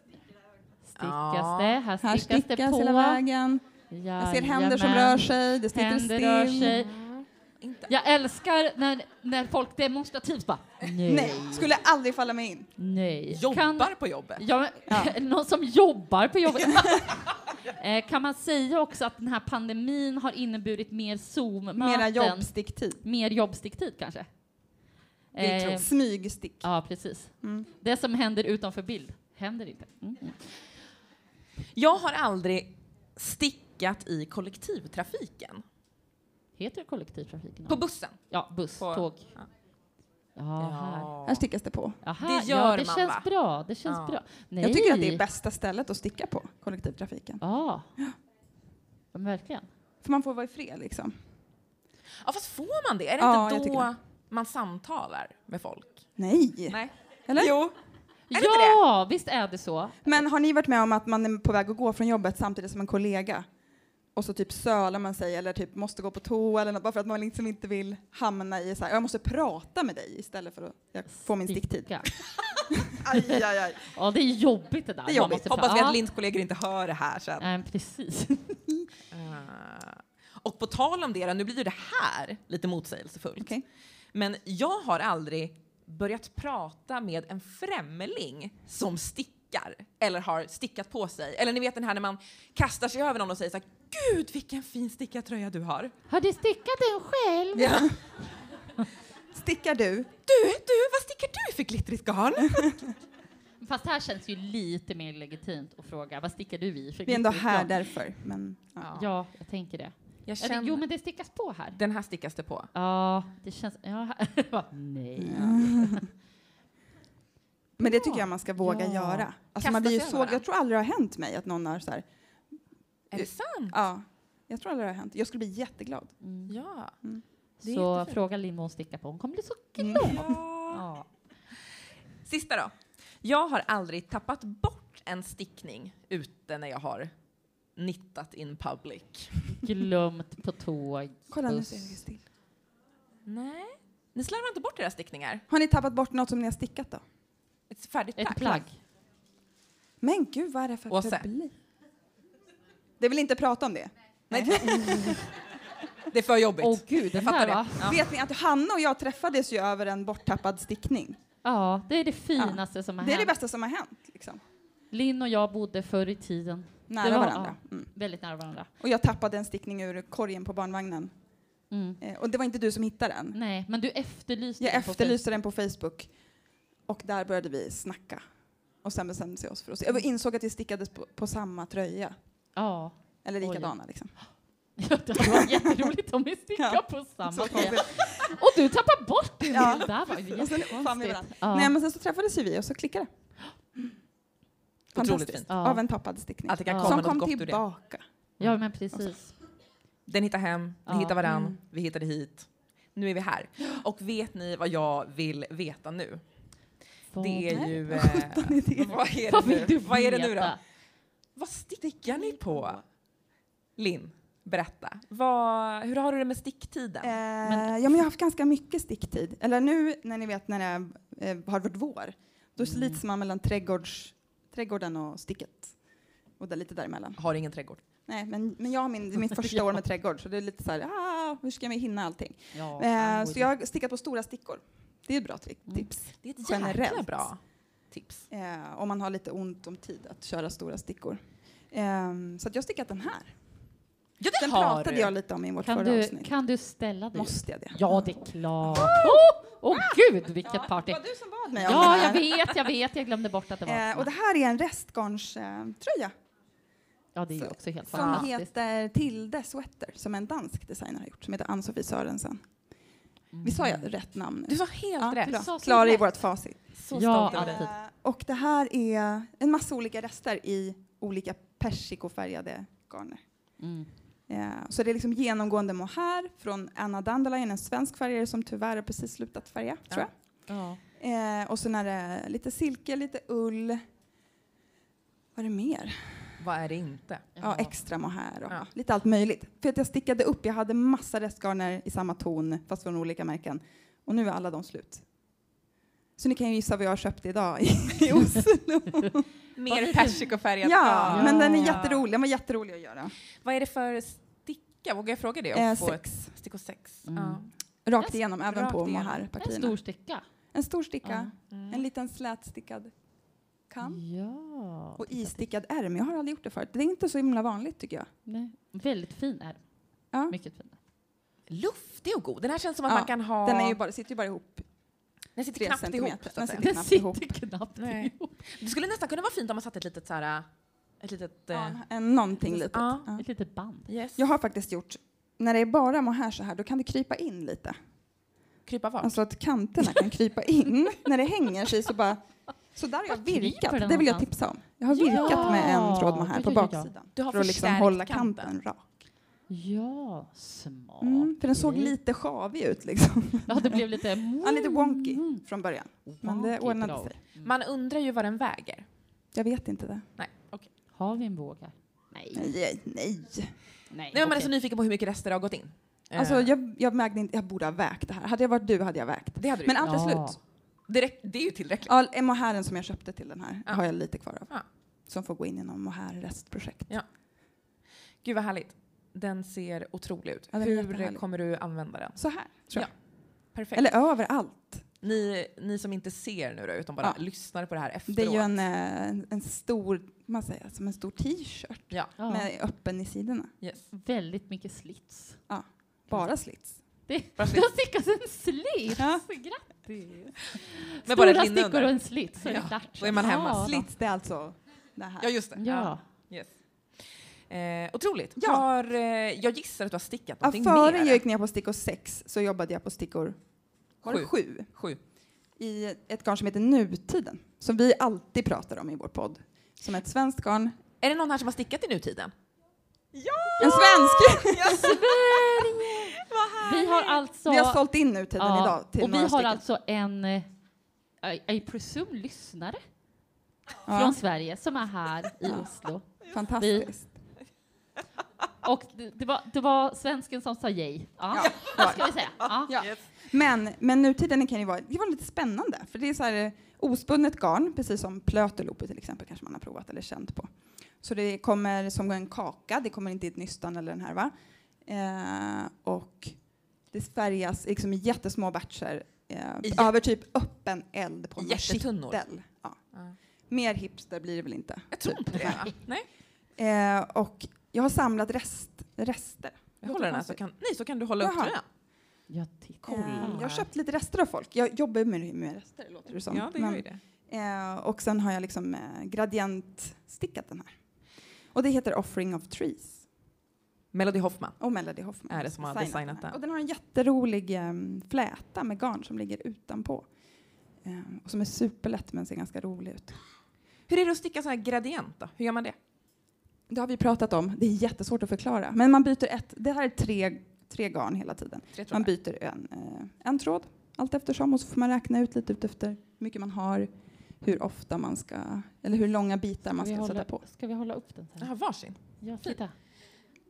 Speaker 3: Stickas
Speaker 4: Ja.
Speaker 3: det, här stickas,
Speaker 5: Här stickas
Speaker 3: det på.
Speaker 5: hela vägen. Jag ser händer som rör sig, det sitter
Speaker 3: Händer rör
Speaker 5: still. Mm.
Speaker 3: sig.
Speaker 4: Inte.
Speaker 3: Jag älskar när, när folk demonstrativt bara nej, nej.
Speaker 5: Nej, skulle aldrig falla mig in.
Speaker 4: Jobbar
Speaker 3: Kan-
Speaker 4: på jobbet.
Speaker 3: Ja, men,
Speaker 5: Ja.
Speaker 3: [LAUGHS] någon som jobbar på jobbet. [LAUGHS] eh, kan man säga också att den här pandemin har inneburit mer Zoom-möten?
Speaker 5: Mera jobbsticktid.
Speaker 3: Mer jobbsticktid kanske? Eh,
Speaker 4: Det tror jag.
Speaker 5: Smygstick.
Speaker 3: ja, precis.
Speaker 5: Mm.
Speaker 3: Det som händer utanför bild händer inte. Mm. mm.
Speaker 4: Jag har aldrig stickat i kollektivtrafiken.
Speaker 3: Heter det kollektivtrafiken?
Speaker 4: På bussen.
Speaker 3: ja, buss,
Speaker 4: på-
Speaker 3: tåg.
Speaker 4: ja.
Speaker 3: Ja, här.
Speaker 5: Här stickas det på.
Speaker 3: Aha,
Speaker 4: Det gör
Speaker 3: ja, det
Speaker 4: man,
Speaker 3: känns
Speaker 4: va?
Speaker 3: bra. Det känns
Speaker 4: Ja.
Speaker 3: bra. Nej.
Speaker 5: Jag tycker att det är bästa stället att sticka på, kollektivtrafiken.
Speaker 3: Ja. Men verkligen.
Speaker 5: För man får vara i fred liksom.
Speaker 4: Ja, fast får man det? Är det
Speaker 5: Ja, jag
Speaker 4: inte
Speaker 5: tycker
Speaker 4: då
Speaker 5: det.
Speaker 4: man samtalar med folk?
Speaker 5: Nej!
Speaker 4: Nej.
Speaker 5: Eller?
Speaker 4: Jo. det inte
Speaker 3: ja, visst är det så.
Speaker 5: Men har ni varit med om att man är på väg att gå från jobbet samtidigt som en kollega? Och så typ sölar man sig eller typ måste gå på toa eller något bara för att man liksom inte vill hamna i så här, jag måste prata med dig istället för att jag får min sticktid.
Speaker 3: Sticka.
Speaker 5: Aj, aj, aj.
Speaker 3: Ja, det är jobbigt det där.
Speaker 5: Det är
Speaker 3: Man
Speaker 5: jobbigt.
Speaker 3: måste
Speaker 4: Hoppas
Speaker 3: pra-
Speaker 4: vi
Speaker 3: Ja.
Speaker 4: att Linds kollegor inte hör det här sen.
Speaker 3: Nej, men precis.
Speaker 4: Eh, Och på tal om det, då, nu blir ju det här lite motsägelsefullt.
Speaker 5: Okej.
Speaker 4: Men jag har aldrig börjat prata med en främling som stickar eller har stickat på sig. Eller ni vet den här när man kastar sig över någon och säger så här, Gud vilken fin stickartröja du har.
Speaker 3: [LAUGHS] Har du stickat den själv?
Speaker 5: [LAUGHS] Stickar du?
Speaker 4: Du, du, vad stickar du för glittrigt garn?
Speaker 3: Fast här känns ju lite mer legitimt att fråga vad stickar du i? För
Speaker 5: Vi är ändå
Speaker 3: glittrigt
Speaker 5: här
Speaker 3: garn?
Speaker 5: därför. Men, ja.
Speaker 3: Ja, jag tänker det.
Speaker 4: Jag
Speaker 3: Jag tänker- Jo,
Speaker 4: känner,
Speaker 3: men det stickas på här.
Speaker 4: den här stickas det på.
Speaker 3: Ja, det känns... Ja, [LAUGHS] här- bara, nej.
Speaker 5: men det tycker jag man ska våga
Speaker 3: Ja.
Speaker 5: göra. Alltså
Speaker 4: Kasta
Speaker 5: man blir ju
Speaker 4: sig
Speaker 5: såg,
Speaker 4: över
Speaker 5: jag tror aldrig det har hänt mig att någon har så här,
Speaker 4: Är det sant?
Speaker 5: ja, jag tror aldrig det har hänt. Jag skulle bli jätteglad.
Speaker 3: Mm.
Speaker 4: Ja. Det är
Speaker 3: Så
Speaker 4: jättefint.
Speaker 3: fråga Linn vad hon stickar på. Hon kommer bli så glad.
Speaker 4: Mm.
Speaker 3: Ja.
Speaker 4: Sista då. Jag har aldrig tappat bort en stickning ute när jag har nittat in public.
Speaker 3: Glömt på tåg.
Speaker 5: Kolla nu
Speaker 3: buss.
Speaker 5: ser jag still.
Speaker 4: Nej. Ni slarvar inte bort era stickningar?
Speaker 5: Har ni tappat bort något som ni har stickat då?
Speaker 4: Ett färdigt
Speaker 3: Ett plagg.
Speaker 5: Men gud, vad är det för
Speaker 4: Åse.
Speaker 5: publik? Det vill inte prata om det.
Speaker 4: Det är för jobbigt.
Speaker 3: Åh gud,
Speaker 4: jag
Speaker 3: den
Speaker 4: fattar
Speaker 3: här
Speaker 4: det.
Speaker 3: va?
Speaker 4: Ja.
Speaker 5: Vet ni att Hanna och jag träffades ju över en borttappad stickning.
Speaker 3: Ja, det är det finaste som har
Speaker 5: Det är det
Speaker 3: hänt.
Speaker 5: bästa som har hänt. Liksom.
Speaker 3: Linn och jag bodde förr i tiden
Speaker 5: Nära
Speaker 3: Det var-
Speaker 5: varandra. Mm.
Speaker 3: väldigt nära varandra.
Speaker 5: Och jag tappade en stickning ur korgen på barnvagnen.
Speaker 3: Mm.
Speaker 5: Eh, och det var inte du som hittade den.
Speaker 3: Nej, men du efterlyste
Speaker 5: Jag
Speaker 3: den Mm. på
Speaker 5: efterlyste den på Facebook. Och där började vi snacka. Och sen bestämde vi oss för att se. Jag insåg att vi stickades på, på samma tröja.
Speaker 3: Facebook. Ja. [LAUGHS]
Speaker 5: Eller
Speaker 3: Oj.
Speaker 5: likadana liksom.
Speaker 3: Ja, det hade varit jätteroligt om vi
Speaker 5: [LAUGHS]
Speaker 3: stickade
Speaker 5: Ja,
Speaker 3: på samma
Speaker 5: Så
Speaker 3: tröja.
Speaker 5: konstigt.
Speaker 3: Och du tappar bort din
Speaker 5: Ja.
Speaker 3: bild. Där var ju
Speaker 5: Och sen fann vi
Speaker 3: jättekonstigt.
Speaker 5: varandra. [LAUGHS]
Speaker 3: Ja.
Speaker 5: Nej men sen så träffades ju vi och så klickade det.
Speaker 4: Otroligt
Speaker 5: Fantastiskt.
Speaker 4: fint.
Speaker 3: Ja.
Speaker 5: Av en tappad stickning.
Speaker 4: Att det kan
Speaker 3: Ja.
Speaker 4: komma
Speaker 5: Som
Speaker 4: något
Speaker 5: kom
Speaker 4: gott ur det.
Speaker 5: tillbaka.
Speaker 3: ja, men precis.
Speaker 4: Den hittar hem, vi
Speaker 3: Ja.
Speaker 4: hittar varann,
Speaker 5: Mm.
Speaker 4: vi hittade hit. Nu är vi här. Och vet ni vad jag vill veta nu? Det är
Speaker 3: [LAUGHS] Vad-
Speaker 4: ju... Eh, vad är det
Speaker 3: Vad vill
Speaker 4: nu?
Speaker 3: du
Speaker 4: Vad är det nu då?
Speaker 3: veta?
Speaker 4: Vad stickar ni på? Linn, Berätta. Vad, hur har du det med sticktiden?
Speaker 5: Eh, ja, men jag har haft ganska mycket sticktid. Eller nu när ni vet när det är, eh, har varit vår, då
Speaker 3: Mm.
Speaker 5: slits man mellan trädgårds, trädgården och sticket. Och där, lite däremellan.
Speaker 4: Har ingen trädgård.
Speaker 5: Nej, men, men jag har min, det är mitt
Speaker 3: [LAUGHS]
Speaker 5: första år med trädgård, så det är lite så här, ah, hur ska jag hinna allting?
Speaker 3: Ja,
Speaker 5: Eh,
Speaker 3: angående-
Speaker 5: så jag har stickat på stora stickor. Det är ett bra trick,
Speaker 3: Mm.
Speaker 5: tips.
Speaker 4: Det är ett jäkla
Speaker 5: Eh, Generellt.
Speaker 4: bra tips.
Speaker 5: Eh, om man har lite ont om tid att köra stora stickor. Ehm, så att jag har stickat den här.
Speaker 4: Ja,
Speaker 5: Den pratade jag lite om i vårt
Speaker 3: kan,
Speaker 5: förra
Speaker 3: du,
Speaker 5: avsnitt.
Speaker 3: kan du ställa dig?
Speaker 5: Måste jag det?
Speaker 3: Ja, det är klart. Åh oh, gud, vilket party.
Speaker 5: Det var du som bad mig om
Speaker 3: Ja,
Speaker 5: den
Speaker 3: jag
Speaker 5: här.
Speaker 3: vet, jag vet, jag glömde bort att det var.
Speaker 5: Eh, och det här är en restgarnströja eh, tröja
Speaker 3: ja, det är ju
Speaker 5: så-
Speaker 3: också helt
Speaker 5: som
Speaker 3: fantastiskt.
Speaker 5: heter Tilde Sweater som en dansk designer har gjort som heter Ann-Sofie Sörensen. Vi sa
Speaker 3: Mm.
Speaker 5: jag rätt namn nu?
Speaker 4: Du sa helt
Speaker 5: Ja,
Speaker 4: rätt.
Speaker 5: bra.
Speaker 3: sa så
Speaker 5: Klara i
Speaker 3: rätt.
Speaker 5: vårt facit.
Speaker 4: Så
Speaker 3: Ja,
Speaker 4: stolt över dig.
Speaker 3: alltid.
Speaker 5: Eh, och det här är en massa olika rester i olika persikofärgade garner.
Speaker 3: Mm.
Speaker 5: Eh, Så det är liksom genomgående mohair från Anna Dandelion, en svensk färgare som tyvärr har precis slutat färga,
Speaker 4: Ja.
Speaker 5: tror jag.
Speaker 3: Ja.
Speaker 5: Eh, och sen är det lite silke, lite ull. Vad är det mer?
Speaker 4: Vad är det inte?
Speaker 5: Ja, extra mohair och
Speaker 4: Ja.
Speaker 5: lite allt möjligt. För att jag stickade upp, jag hade massa restgarner i samma ton, fast från olika märken. Och nu är alla de slut. Så ni kan ju gissa vad jag köpte idag i
Speaker 4: [LAUGHS]
Speaker 5: i Oslo.
Speaker 4: Mer persikofärgat.
Speaker 5: ja, men den är
Speaker 4: Ja.
Speaker 5: jätterolig. Den var jätterolig att göra.
Speaker 4: Vad är det för sticka? Vågar jag fråga det?
Speaker 5: Eh,
Speaker 4: Och få ett
Speaker 5: sex.
Speaker 4: stick och sex.
Speaker 3: Mm.
Speaker 4: Ja.
Speaker 5: Rakt
Speaker 4: Yes,
Speaker 5: igenom, även
Speaker 4: rakt
Speaker 5: på
Speaker 4: igenom.
Speaker 3: En
Speaker 5: mohairpartierna.
Speaker 3: stor sticka.
Speaker 5: En stor sticka,
Speaker 4: Mm.
Speaker 5: en liten slätstickad kam
Speaker 3: Ja.
Speaker 5: och
Speaker 3: titta, titta.
Speaker 5: istickad ärm. Jag har aldrig gjort det förut. Det är inte så himla vanligt tycker jag.
Speaker 3: Nej. Väldigt fin är den.
Speaker 5: Ja.
Speaker 3: Mycket fin.
Speaker 4: Luftig och god. Den här känns som att
Speaker 5: Ja,
Speaker 4: man kan ha...
Speaker 5: Den är ju bara, sitter ju bara ihop.
Speaker 4: den sitter
Speaker 5: tre
Speaker 4: knappt ihop.
Speaker 5: centimeter.
Speaker 4: Så
Speaker 5: Den
Speaker 4: att säga.
Speaker 5: sitter
Speaker 3: Den
Speaker 5: knappt
Speaker 3: sitter
Speaker 5: ihop.
Speaker 3: knappt
Speaker 4: Nej.
Speaker 3: ihop.
Speaker 4: Det skulle nästan kunna vara fint om man satte ett litet så här... Ett litet... eh,
Speaker 5: Ja, en- någonting litet.
Speaker 4: Ja.
Speaker 5: Ja.
Speaker 3: Ett litet band.
Speaker 4: Yes.
Speaker 5: Jag har faktiskt gjort, när det är bara mohair så här, då kan det krypa in lite.
Speaker 4: Krypa var?
Speaker 5: Alltså att kanterna kan krypa in. när det hänger sig så bara... Så där har jag
Speaker 3: Var kryper
Speaker 5: virkat.
Speaker 3: den
Speaker 5: Det vill jag
Speaker 3: någonstans?
Speaker 5: tipsa om. Jag har
Speaker 3: Ja!
Speaker 5: virkat med en tråd
Speaker 3: Ja,
Speaker 5: mohair på
Speaker 3: ja, ja.
Speaker 5: baksidan.
Speaker 4: Du har
Speaker 5: För att liksom
Speaker 4: förstärkt
Speaker 5: hålla
Speaker 4: kanten.
Speaker 5: kanten rak.
Speaker 3: Ja, smart.
Speaker 5: Mm, för den såg lite sjavig ut liksom.
Speaker 3: Ja, det blev lite... mm,
Speaker 5: Ja, lite wonky från början. Men det
Speaker 3: Wonky
Speaker 5: ordnade
Speaker 3: drag.
Speaker 5: sig.
Speaker 4: Man undrar ju vad den väger.
Speaker 5: Jag vet inte det.
Speaker 4: Nej, okej.
Speaker 3: Har vi en våg här? Nej. Nej,
Speaker 5: Nej, nej.
Speaker 3: Nej
Speaker 4: Nej, men alltså, man är
Speaker 3: okej.
Speaker 4: så nyfiken på hur mycket rester det har gått in. Eh,
Speaker 5: Alltså, jag, jag, vägde inte, jag borde ha vägt det här. Hade jag varit du hade jag vägt.
Speaker 4: det hade du
Speaker 5: Men
Speaker 4: gjort.
Speaker 5: allt är
Speaker 3: Ja.
Speaker 5: slut.
Speaker 4: det, räck- det är ju tillräckligt.
Speaker 5: All eh, mohairen som jag köpte till den här
Speaker 4: Ja.
Speaker 5: har jag lite kvar av.
Speaker 4: Ja.
Speaker 5: Som får gå in i någon mohair-restprojekt.
Speaker 4: Ja. Gud vad härligt. Den ser otrolig ut.
Speaker 5: Ja, den är
Speaker 4: hur
Speaker 5: jättehärlig.
Speaker 4: kommer du använda den?
Speaker 5: Så här, tror jag.
Speaker 4: Perfekt.
Speaker 5: Eller överallt.
Speaker 4: Ni, ni som inte ser nu då, utan bara
Speaker 5: Ja.
Speaker 4: lyssnar på det här efteråt.
Speaker 5: Det är ju en, eh, en, en stor, man säger, som en stor t-shirt
Speaker 4: Ja,
Speaker 3: Ja.
Speaker 5: med öppen i sidorna.
Speaker 4: yes.
Speaker 3: Väldigt mycket slits.
Speaker 5: Bara slits.
Speaker 3: Det,
Speaker 5: [LAUGHS]
Speaker 3: det
Speaker 4: Bara
Speaker 3: har stickats en slits!
Speaker 5: Ja.
Speaker 3: Grattis!
Speaker 4: Men bara
Speaker 3: Stora
Speaker 4: ett linne
Speaker 3: stickor
Speaker 4: under.
Speaker 3: och en slits, så är
Speaker 4: Ja,
Speaker 3: det klart.
Speaker 4: då är man hemma.
Speaker 3: Ja,
Speaker 5: Slits, det är alltså det här.
Speaker 4: Ja, just det.
Speaker 3: då. Ja.
Speaker 4: Eh, otroligt.
Speaker 5: Ja.
Speaker 4: Har, eh, jag gissar att du har stickat
Speaker 5: Ja,
Speaker 4: någonting
Speaker 5: före
Speaker 4: mer.
Speaker 5: jag gick ner på stickor sex så jobbade jag på stickor var det
Speaker 4: Sju.
Speaker 5: sju.
Speaker 4: Sju.
Speaker 5: i ett garn som heter Nutiden, som vi alltid pratar om i vår podd. Som ett svenskt garn.
Speaker 4: Är det någon här som har stickat i nutiden?
Speaker 5: En svensk!
Speaker 3: Vi har
Speaker 5: [LAUGHS]
Speaker 3: alltså...
Speaker 5: Vi har sålt in Nutiden
Speaker 3: ja,
Speaker 5: idag till
Speaker 3: Och vi
Speaker 5: några
Speaker 3: har
Speaker 5: stycken.
Speaker 3: alltså en, eh, I, I presume, lyssnare
Speaker 5: Ja,
Speaker 3: från Sverige som är här i
Speaker 5: Ja.
Speaker 3: Oslo.
Speaker 5: fantastiskt.
Speaker 3: Och det, det, var, det var svensken som sa yay. Ja, det ska vi säga. Ja.
Speaker 5: Ja. Men, men Nutiden kan ju vara, det var lite spännande, för det är så här eh, ospunnet garn, precis som plötelope till exempel kanske man har provat eller känt på. Så det kommer som en kaka, det kommer inte i ett nystan eller den här va? Eh, och det färgas liksom i jättesmå batcher
Speaker 4: I
Speaker 5: eh, över typ öppen eld på
Speaker 4: I
Speaker 5: en
Speaker 4: jättetunnor?
Speaker 5: kittel. Ja.
Speaker 4: Ja.
Speaker 5: Mer hipster blir det väl inte.
Speaker 4: Jag tror inte det.
Speaker 5: [LAUGHS]
Speaker 4: va? Nej,
Speaker 5: Eh, och jag har samlat rest, rester.
Speaker 4: jag håller den här så kan, nej, så kan du hålla upp
Speaker 5: Jaha.
Speaker 4: tröjan.
Speaker 3: Jag tittar.
Speaker 5: Eh, jag har köpt lite rester av folk. Jag jobbar ju med, med rester, låter det som.
Speaker 4: Ja, det
Speaker 5: Men,
Speaker 4: gör ju det.
Speaker 5: eh, och sen har jag liksom eh, gradientstickat den här. Och det heter Offering of Trees.
Speaker 4: Melody Hoffman.
Speaker 5: Och Melody Hoffman
Speaker 4: Är det som har designat
Speaker 5: här.
Speaker 4: den?
Speaker 5: Och den har en jätterolig eh, fläta med garn som ligger utanpå. Eh, och som är superlätt men ser ganska rolig ut.
Speaker 4: Hur är det att sticka sån här gradient då? Hur gör man det?
Speaker 5: Det har vi pratat om. Det är jättesvårt att förklara. Men man byter ett. Det här är tre, tre garn hela tiden.
Speaker 4: Tre trådar.
Speaker 5: Man byter en, eh, en tråd allt eftersom och så får man räkna ut lite utefter hur mycket man har, hur ofta man ska, eller hur långa bitar man
Speaker 3: vi
Speaker 5: ska
Speaker 3: hålla,
Speaker 5: sätta på.
Speaker 3: Ska vi hålla upp den? Så här?
Speaker 4: Jaha, varsin.
Speaker 3: Ja, titta.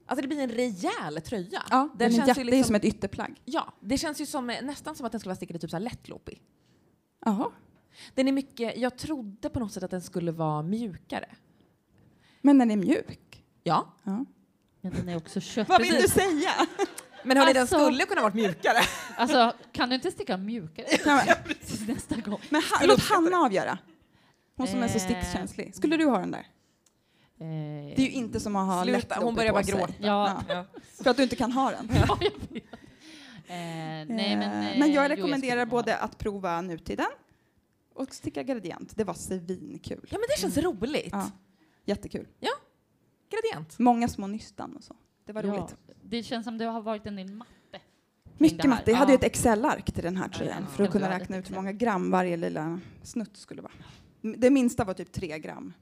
Speaker 4: Alltså det blir en rejäl tröja.
Speaker 5: Ja, den är jätte,
Speaker 4: ju
Speaker 5: Det är
Speaker 4: liksom,
Speaker 5: som ett ytterplagg.
Speaker 4: ja, det känns ju som, eh, nästan som att den skulle vara stickad i typ så här lättloppig.
Speaker 5: Jaha.
Speaker 4: Den är mycket, jag trodde på något sätt att den skulle vara mjukare.
Speaker 5: Men den är mjuk.
Speaker 4: Ja,
Speaker 5: Ja.
Speaker 3: Men den är också
Speaker 5: [LAUGHS]
Speaker 3: kött.
Speaker 5: Vad vill
Speaker 3: Precis.
Speaker 5: du säga?
Speaker 4: men hörni den
Speaker 3: Alltså-
Speaker 4: skulle kunna varit mjukare.
Speaker 3: Alltså, kan du inte sticka mjukare
Speaker 5: [LAUGHS] [LAUGHS] Ja, men-
Speaker 3: [LAUGHS] nästa gång? Eh,
Speaker 5: Men ha, låt Hanna avgöra. Hon som är så stickkänslig. Skulle du ha den där? Eh, Det är ju inte som att ha
Speaker 4: Sluta,
Speaker 5: lätt
Speaker 4: hon börjar bara
Speaker 5: loppig på
Speaker 4: gråta.
Speaker 5: sig.
Speaker 3: Ja. [LAUGHS]
Speaker 4: Ja.
Speaker 5: För att du inte kan ha [LAUGHS] den.
Speaker 3: Ja, jag vet. Eh, nej, men,
Speaker 5: Eh, men
Speaker 3: eh, jo,
Speaker 5: jag
Speaker 3: skulle
Speaker 5: rekommenderar
Speaker 3: nog ha
Speaker 5: både att prova nutiden och sticka gradient. Det var svinkul.
Speaker 4: Mm. ja, men det känns roligt.
Speaker 5: Ja. Jättekul.
Speaker 4: Gradient.
Speaker 5: Många små nystan och så. Det var
Speaker 3: Ja.
Speaker 5: roligt.
Speaker 3: Det känns som det har varit en del matte.
Speaker 5: Mycket
Speaker 3: det här.
Speaker 5: matte. Jag hade ju
Speaker 3: Ja.
Speaker 5: ett Excel-ark till den här tröjan
Speaker 3: ja.
Speaker 5: för att kunna
Speaker 3: Ja.
Speaker 5: räkna ut hur många gram varje lilla snutt skulle vara. M- Det minsta var typ tre gram.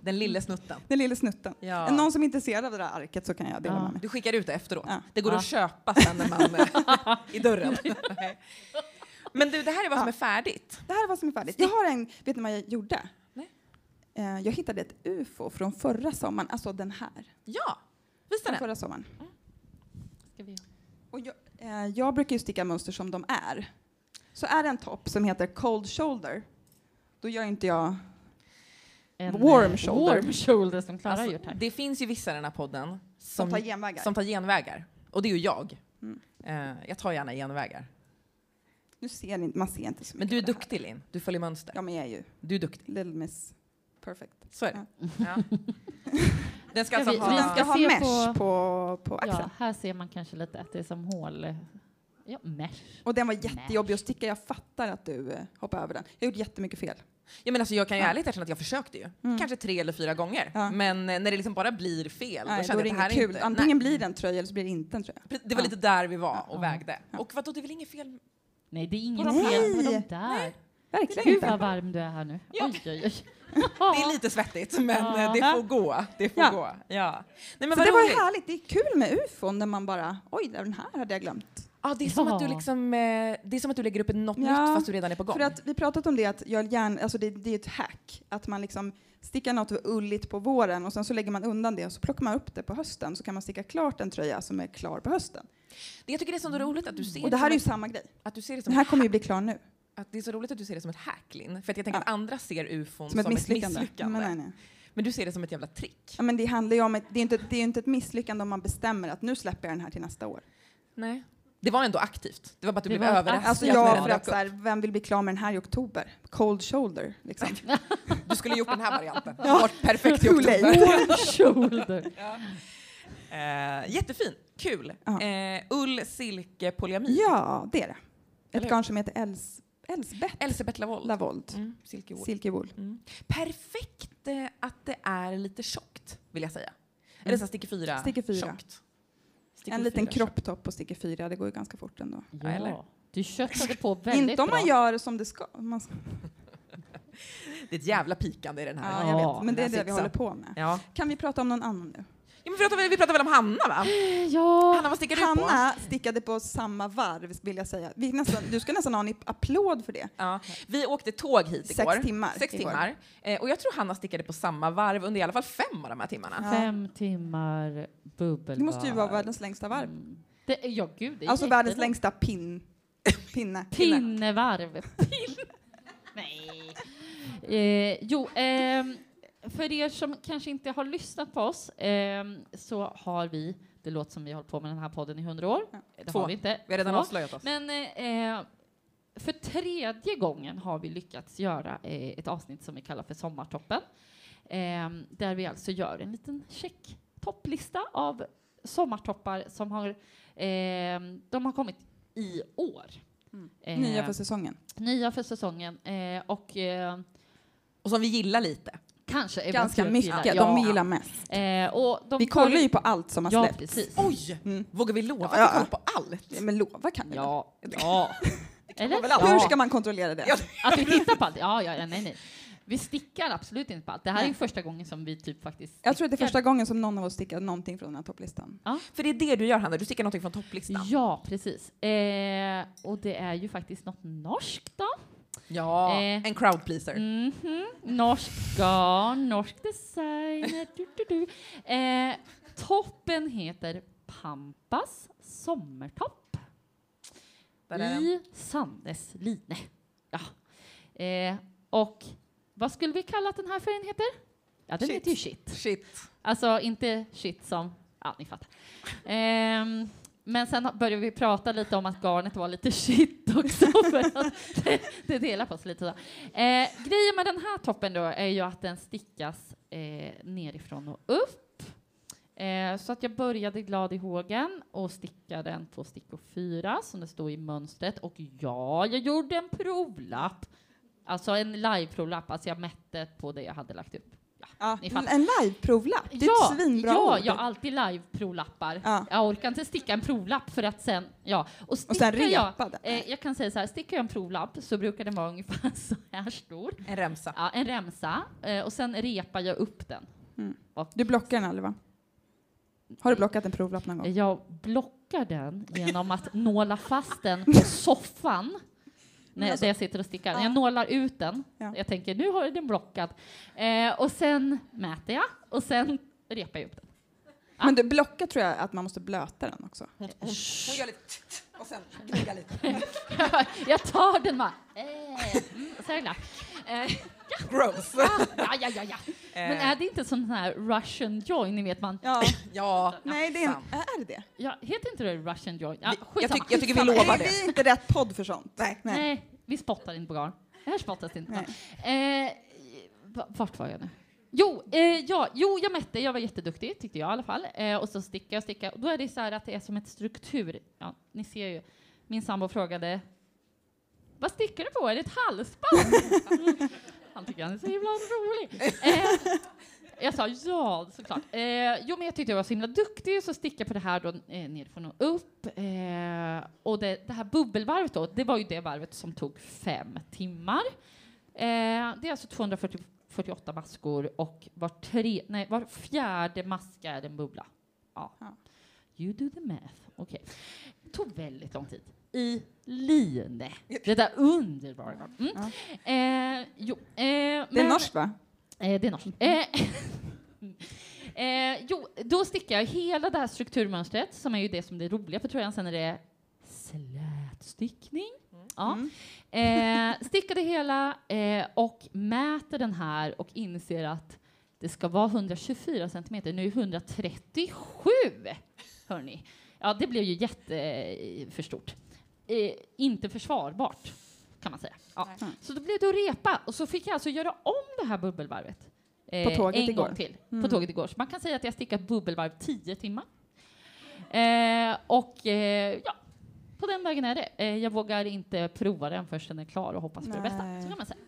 Speaker 4: Den lille snutten.
Speaker 5: Den lilla snutten.
Speaker 4: Ja.
Speaker 5: Är någon som är intresserad av det där arket så kan jag dela
Speaker 3: Ja.
Speaker 5: med mig.
Speaker 4: Du skickar ut det efteråt.
Speaker 5: Ja.
Speaker 4: Det går
Speaker 3: Ja.
Speaker 4: att köpa sen när man eh, [LAUGHS] i dörren. Nej. Men du, det här är vad som
Speaker 5: Ja.
Speaker 4: är färdigt.
Speaker 5: Det här är vad som är färdigt. Jag har en, vet ni vad jag gjorde?
Speaker 4: Nej.
Speaker 5: Eh, Jag hittade ett UFO från förra sommaren, alltså den här.
Speaker 4: Ja, visa
Speaker 5: Från
Speaker 4: den.
Speaker 5: förra sommaren.
Speaker 3: Ska vi...
Speaker 5: Och jag, eh, jag brukar ju sticka mönster som de är. Så är det en topp som heter cold shoulder, då gör inte jag...
Speaker 3: en,
Speaker 5: Warm
Speaker 3: eh,
Speaker 5: shoulder.
Speaker 3: warm shoulder som Klara har gjort
Speaker 4: Alltså,
Speaker 3: här.
Speaker 4: det finns ju vissa i den här podden
Speaker 5: Som
Speaker 4: som,
Speaker 5: tar genvägar.
Speaker 4: som tar genvägar. Och det är ju jag.
Speaker 5: Mm.
Speaker 4: Eh, jag tar gärna genvägar.
Speaker 5: Nu ser ni, man ser inte så mycket.
Speaker 4: Men du är
Speaker 5: av det här.
Speaker 4: duktig Linn. Du följer mönster.
Speaker 5: Ja, men jag är ju
Speaker 4: Du är duktig.
Speaker 5: little miss perfect.
Speaker 4: Så är det.
Speaker 5: [LAUGHS]
Speaker 4: Ja. Den ska
Speaker 3: Ska
Speaker 4: alltså
Speaker 3: vi-
Speaker 5: Så
Speaker 3: vi
Speaker 5: den
Speaker 4: ha...
Speaker 5: ska ha
Speaker 3: se
Speaker 5: mesh på,
Speaker 3: på-
Speaker 5: på, axeln.
Speaker 3: Ja, här ser man kanske lite att det är som hål... Ja, mesh.
Speaker 5: Och den var jättejobbig att sticka. Jag fattar att du eh, hoppade över den. Jag gjorde jättemycket fel.
Speaker 4: Ja, men alltså, jag kan ju
Speaker 5: Ja.
Speaker 4: ärligt erkänna att jag försökte ju.
Speaker 5: Mm.
Speaker 4: Kanske tre eller fyra gånger.
Speaker 5: Ja.
Speaker 4: Men eh, när det liksom bara blir fel,
Speaker 5: Nej,
Speaker 4: då
Speaker 5: då
Speaker 4: kände
Speaker 5: är det
Speaker 4: jag att
Speaker 5: inget
Speaker 4: det här är
Speaker 5: kul.
Speaker 4: inte...
Speaker 5: Antingen blir det en tröja eller så blir det inte en tröja.
Speaker 4: Nej, det var
Speaker 5: Ja.
Speaker 4: lite där vi var och
Speaker 3: Ja.
Speaker 4: vägde.
Speaker 5: Ja.
Speaker 4: Och vadå, det är väl inget fel?
Speaker 3: Nej, det är inget
Speaker 5: Nej.
Speaker 3: fel på de där.
Speaker 5: Verkligen
Speaker 3: Gud
Speaker 5: inte.
Speaker 3: vad varm du är här nu.
Speaker 4: Ja.
Speaker 3: Oj, oj, oj.
Speaker 5: [LAUGHS]
Speaker 4: Det är lite svettigt, [LAUGHS] men
Speaker 3: Ja.
Speaker 4: eh, det får gå. Det får
Speaker 5: Ja.
Speaker 4: gå. Ja. Nej, men
Speaker 5: så
Speaker 4: vad
Speaker 5: det var ju
Speaker 4: roligt.
Speaker 5: härligt. Det är kul med ufon när man bara, oj, den här hade jag glömt.
Speaker 4: Ja, det är som
Speaker 3: Ja.
Speaker 4: att du liksom, eh, det är som att du lägger upp något
Speaker 5: Ja.
Speaker 4: nytt fast du redan är på gång.
Speaker 5: För att vi pratat om det att jag gärna, alltså det, det är ju ett hack, att man liksom stickar något ulligt på våren och sen så lägger man undan det och så plockar man upp det på hösten så kan man sticka klart en tröja som är klar på hösten.
Speaker 4: det, jag tycker det är så roligt att du ser
Speaker 5: Och det här är
Speaker 4: som
Speaker 5: ju samma grej.
Speaker 4: ett, att du ser det som
Speaker 5: Den
Speaker 4: ett
Speaker 5: här kommer ju
Speaker 4: hack.
Speaker 5: bli klar nu,
Speaker 4: Att det är så roligt att du ser det som ett hack, Linn. För att jag tänker
Speaker 5: Ja.
Speaker 4: att andra ser ufon
Speaker 5: som ett misslyckande. Men, nej, nej.
Speaker 4: Men du ser det som ett jävla trick.
Speaker 5: Ja, men det handlar ju om, ett, det är ju inte, det är ju inte ett misslyckande om man bestämmer att nu släpper jag den här till nästa år.
Speaker 4: Nej. Det var ändå aktivt. Det var bara att du
Speaker 3: Det
Speaker 4: blev
Speaker 3: var ett
Speaker 4: överraskad.
Speaker 5: Alltså
Speaker 3: Ja,
Speaker 4: när
Speaker 5: jag
Speaker 4: den
Speaker 5: för
Speaker 4: dök
Speaker 5: att så här, vem vill bli klar med den här i oktober? Cold shoulder, liksom.
Speaker 4: upp. Du skulle gjort den här varianten. Det hade varit perfekt i
Speaker 5: Too late.
Speaker 4: oktober.
Speaker 3: Warm [LAUGHS] shoulder.
Speaker 4: [LAUGHS] Eh, jättefin. Kul.
Speaker 5: Ja.
Speaker 4: Eh, ull, silke, polyamid.
Speaker 5: Ja, det är det.
Speaker 4: Eller
Speaker 5: Ett garn som heter Els, Elsbeth
Speaker 4: Elisabeth Lavoll.
Speaker 5: Lavold.
Speaker 4: Mm, silkewool.
Speaker 5: Silkewool.
Speaker 4: Perfekt eh, att det är lite tjockt, vill jag säga. Eller så här sticker fyra,
Speaker 5: Mm. Sticker fyra.
Speaker 4: tjockt. Sticker
Speaker 5: En liten
Speaker 4: fyra
Speaker 5: kropptopp och sticker fyra, det går ju ganska fort ändå.
Speaker 4: Ja, eller?
Speaker 3: Ja, du köttade på väldigt
Speaker 5: Inte om man
Speaker 3: bra.
Speaker 5: gör som det ska. Man ska
Speaker 4: tjockt. Det är ett jävla pikande i den här.
Speaker 5: ja,
Speaker 4: Ja.
Speaker 5: jag
Speaker 3: Ja,
Speaker 5: vet. Men det är
Speaker 4: den här
Speaker 5: det vi
Speaker 4: sitsen.
Speaker 5: håller på med.
Speaker 4: Ja.
Speaker 5: Kan vi prata om någon annan nu?
Speaker 4: men vi, pratar, väl- vi pratar väl om Hanna, va?
Speaker 3: Ja,
Speaker 4: Hanna, vad sticker du på?
Speaker 5: Hanna stickade på samma varv, vill jag säga. Vi nästan, du ska nästan ha en applåd för det.
Speaker 4: Ja. Vi åkte tåg hit igår.
Speaker 5: Sex timmar.
Speaker 4: Sex
Speaker 5: igår.
Speaker 4: timmar. Eh, och jag tror Hanna stickade på samma varv under i alla fall fem av de här timmarna.
Speaker 5: Ja.
Speaker 3: fem timmar bubbelvarv.
Speaker 5: Det måste ju vara världens längsta varv.
Speaker 3: Mm. Det, är- ja, gud, det är
Speaker 5: Alltså världens
Speaker 3: jättelångt.
Speaker 5: längsta pin, pinne.
Speaker 3: Pinnevarv. Pin- [LAUGHS] Nej. Eh, jo, ehm, för er som kanske inte har lyssnat på oss ehm, så har vi, det låter som vi har hållit på med den här podden i hundra år.
Speaker 5: Ja.
Speaker 3: Det
Speaker 4: Två.
Speaker 3: har vi inte.
Speaker 4: Vi har redan
Speaker 3: Två.
Speaker 4: avslöjat oss.
Speaker 3: Men eh, eh, för tredje gången har vi lyckats göra eh, ett avsnitt som vi kallar för Sommartoppen. Eh, där vi alltså gör en liten check topplista av sommartoppar som har, eh, de har kommit i år.
Speaker 5: Mm.
Speaker 3: Eh,
Speaker 5: Nya för säsongen.
Speaker 3: nya för säsongen. Eh, och eh,
Speaker 4: Och som vi gillar lite.
Speaker 3: kanske
Speaker 5: Ganska
Speaker 3: eventuellt
Speaker 5: mycket,
Speaker 3: gillar-
Speaker 5: de
Speaker 3: ja.
Speaker 5: vi gillar mest.
Speaker 3: Eh, och de
Speaker 5: Vi kollar ju på allt som har
Speaker 3: Ja,
Speaker 5: släppts. [LAUGHS]
Speaker 3: precis.
Speaker 4: Oj!
Speaker 5: Mm.
Speaker 4: Vågar vi lova
Speaker 5: Ja,
Speaker 4: att vi
Speaker 5: ja.
Speaker 4: kollar på allt?
Speaker 5: Ja, Men lova kan vi väl?
Speaker 3: Ja. ja. Eller?
Speaker 4: väl alltid.
Speaker 5: Hur
Speaker 3: Ja.
Speaker 5: ska man kontrollera det?
Speaker 4: Ja.
Speaker 3: Att vi tittar på allt? Ja, ja, ja, nej, nej. Vi stickar absolut inte på allt. Det här är ju första gången som vi typ faktiskt...
Speaker 5: Jag tror att det är
Speaker 3: stickar.
Speaker 5: första gången som någon av oss stickar någonting från den här topplistan.
Speaker 4: För det är det du gör, Hanna. Du stickar någonting från topplistan.
Speaker 3: Ja, precis. Eh, och det är ju faktiskt något norskt då.
Speaker 4: Ja,
Speaker 3: Eh.
Speaker 5: Mm.
Speaker 4: en crowd pleaser.
Speaker 3: Mhm. Norskt garn, norsk design. designer. Du, du, du. Eh, toppen heter Pampas sommartopp
Speaker 4: Där är den.
Speaker 3: i Sannes line. Ja. Eh, och vad skulle vi kalla att den här färgen heter? Ja, den
Speaker 4: Shit.
Speaker 3: heter ju shit.
Speaker 4: Shit.
Speaker 3: Alltså inte shit som, ja ni fattar. Ehm, men sen började vi prata lite om att garnet var lite [LAUGHS] shit också för att det, det delar på sig lite. Så. Eh, grejen med den här toppen då är ju att den stickas eh, nerifrån och upp. Eh, så att jag började glad i hågen och stickade den på stickor fyra som det stod i mönstret och ja, jag gjorde en provlapp. Alltså en live-provlapp, alltså jag mätte på det jag hade lagt upp.
Speaker 5: Ja,
Speaker 3: Ni fattar.
Speaker 5: en live-provlapp, det är ett svinbra
Speaker 3: ja,
Speaker 5: ord.
Speaker 3: jag har alltid live-provlappar.
Speaker 5: Ja.
Speaker 3: Jag orkar inte sticka en provlapp för att sen, ja. Och,
Speaker 5: Och sen
Speaker 3: stickar jag,
Speaker 5: repa den.
Speaker 3: eh, jag kan säga så här, stickar jag en provlapp så brukar den vara ungefär [LAUGHS] så här stor.
Speaker 4: En remsa.
Speaker 3: Ja, en remsa. Eh, och sen repar jag upp den.
Speaker 5: Mm.
Speaker 3: Och
Speaker 5: Du blockar den aldrig va? Har du blockat en provlapp någon gång?
Speaker 3: jag blockar den
Speaker 5: [LAUGHS]
Speaker 3: genom att nåla fast den på soffan. När
Speaker 5: alltså-
Speaker 3: där jag sitter och stickar.
Speaker 5: Ja.
Speaker 3: Jag nålar ut den.
Speaker 5: Ja.
Speaker 3: Jag tänker, nu har jag den blockad. Eh, och sen mäter jag och sen repar jag upp den.
Speaker 5: Men du blockar tror jag att man måste blöta den också.
Speaker 4: Hon gör lite tsk, tsk, och sen gnuggar lite.
Speaker 3: jag tar den bara. Eh, mm, så är det klart. Eh,
Speaker 4: Gross.
Speaker 3: ja, ja, ja, ja. Men
Speaker 4: Eh.
Speaker 3: är det inte sån här Russian joint, ni vet man?
Speaker 5: Ja,
Speaker 4: Ja.
Speaker 5: nej det är,
Speaker 4: sant.
Speaker 5: är det det?
Speaker 3: Ja, heter inte det Russian joint? Ja,
Speaker 4: Vi- jag,
Speaker 3: skitsamma.
Speaker 4: tyck, jag tycker vi lovar
Speaker 5: Nej,
Speaker 4: det.
Speaker 5: vi är inte rätt podd för sånt. Nej.
Speaker 3: Nej. vi spottar inte på garn. Här spottas det inte. på garn. Eh, va- vart var jag nu? Jo, eh, ja, jo, jag mätte, jag var jätteduktig tyckte jag i alla fall. Eh, och så stickade jag och stickade. Och då är det så här att det är som ett struktur. Ja, ni ser ju, min sambo frågade vad stickar du på? Är det ett halsband? [LAUGHS] han tycker han är så himla rolig. Eh, jag sa ja, såklart. Eh, jo, men jag tyckte jag var så himla duktig så stickade jag på det här då eh, nerifrån och upp. Eh, och det, det här bubbelvarvet då, det var ju det varvet som tog fem timmar. Eh, det är alltså 248 maskor och var, tre, nej, var fjärde maska är en bubbla. Ja.
Speaker 5: Ja.
Speaker 3: You do the math. Okej. Det tog väldigt lång tid. I line. Det där underbara. Mm.
Speaker 5: Ja.
Speaker 3: Eh, jo, eh,
Speaker 5: Det är
Speaker 3: men-
Speaker 5: norskt va?
Speaker 3: Eh, det är norskt. Eh, [LAUGHS] eh, jo, då stickar jag hela det här strukturmönstret som är ju det som är det roliga för tröjan. Sen är det slätstickning. Ja.
Speaker 5: Mm.
Speaker 3: Eh, stickar det hela eh, och mäter den här och inser att det ska vara 124 centimeter. Nu är 137! Hörni. Ja, det blev ju jätteför stort. Eh, inte försvarbart, kan man säga. Ja.
Speaker 5: Nej.
Speaker 3: Så då blev det att repa och så fick jag alltså göra om det här bubbelvarvet. eh,
Speaker 5: På tåget
Speaker 3: en
Speaker 5: igår.
Speaker 3: Gång till,
Speaker 5: Mm.
Speaker 3: På tåget igår. Så man kan säga att jag stickat bubbelvarv 10 timmar. Eh, och eh, ja, på den vägen är det. Eh, jag vågar inte prova den förrän den är klar och hoppas på det bästa.
Speaker 5: Nej.
Speaker 3: Så kan man säga.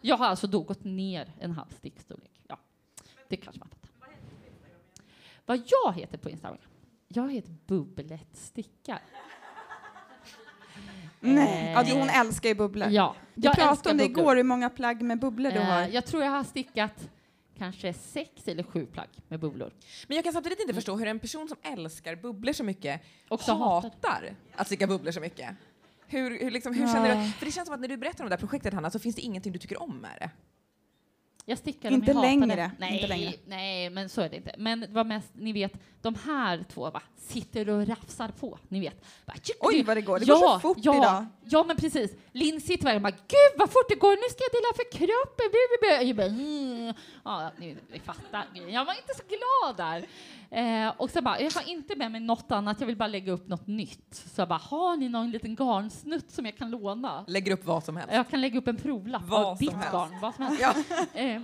Speaker 3: Jag har alltså då gått ner en halv stickstorlek. Ja, det kanske man fattar. Vad jag heter på Instagram? Jag heter Bubblet Stickar.
Speaker 5: Nej. Ja,
Speaker 3: Eh,
Speaker 5: jo, hon älskar ju bubblor.
Speaker 3: Ja,
Speaker 5: Vi pratade
Speaker 3: älskar
Speaker 5: om det
Speaker 3: bubblor.
Speaker 5: igår, hur många plagg med bubblor du
Speaker 3: Eh,
Speaker 5: har.
Speaker 3: Jag tror jag har stickat kanske sex eller sju plagg med bubblor.
Speaker 4: Men jag kan samtidigt inte förstå hur en person som älskar bubblor så mycket
Speaker 3: Mm. Också hatar.
Speaker 4: hatar att sticka bubblor så mycket. Hur, hur, liksom, hur känner du? För det känns som att när du berättar om det här projektet Hanna så finns det ingenting du tycker om med det.
Speaker 3: Jag stickar dem
Speaker 5: Inte
Speaker 3: i hakan.
Speaker 5: längre,
Speaker 3: Nej,
Speaker 5: inte längre.
Speaker 3: nej, men så är det inte. Men det var mest, ni vet, de här två va, sitter och rafsar på. Ni vet. Bara, tjuk,
Speaker 5: Oj
Speaker 3: tjuk.
Speaker 5: vad det går, det
Speaker 3: ja,
Speaker 5: går så fort
Speaker 3: ja,
Speaker 5: idag.
Speaker 3: Ja, men precis. Linn sitter där och bara ”Gud vad fort det går, nu ska jag dela för kroppen”. Bu, bu, bu. Jag bara, mm. ja, ni, ni fattar. Jag var inte så glad där. Eh, och så bara, jag har inte med mig något annat, jag vill bara lägga upp något nytt. Så jag bara, har ni någon liten garnsnutt som jag kan låna?
Speaker 4: Lägger upp vad som helst.
Speaker 3: Jag kan lägga upp en provlapp
Speaker 4: Vad
Speaker 3: av
Speaker 4: som
Speaker 3: ditt
Speaker 4: helst.
Speaker 3: garn, vad som helst.
Speaker 4: Ja.
Speaker 3: Eh,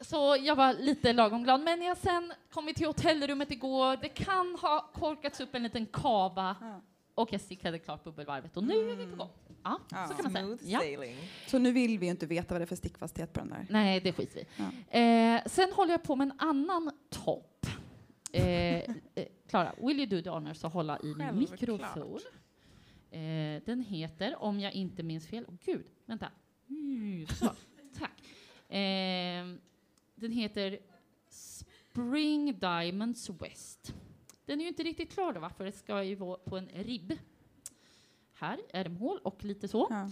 Speaker 3: Så jag var lite lagom glad. Men när jag sen kom till hotellrummet igår, det kan ha korkats upp en liten kava
Speaker 5: Ja.
Speaker 3: och jag stickade klart bubbelvarvet och nu är vi på gång. Ja,
Speaker 5: Ja.
Speaker 3: så kan man säga.
Speaker 4: Smooth
Speaker 3: Ja.
Speaker 4: sailing.
Speaker 5: Så nu vill vi ju inte veta vad det är för stickfasthet på den där.
Speaker 3: Nej, det skiter vi i.
Speaker 5: Ja.
Speaker 3: eh, Sen håller jag på med en annan topp. Eh, eh, Klara, will you do the honors att hålla i min
Speaker 4: Självklart.
Speaker 3: mikrofon? Eh, den heter, om jag inte minns fel, åh gud, vänta. Mm, så, tack. Eh, den heter Spring Diamonds West. Den är ju inte riktigt klar då, va? för det ska ju vara på en ribb. Här, ärmhål och lite så.
Speaker 5: Ja.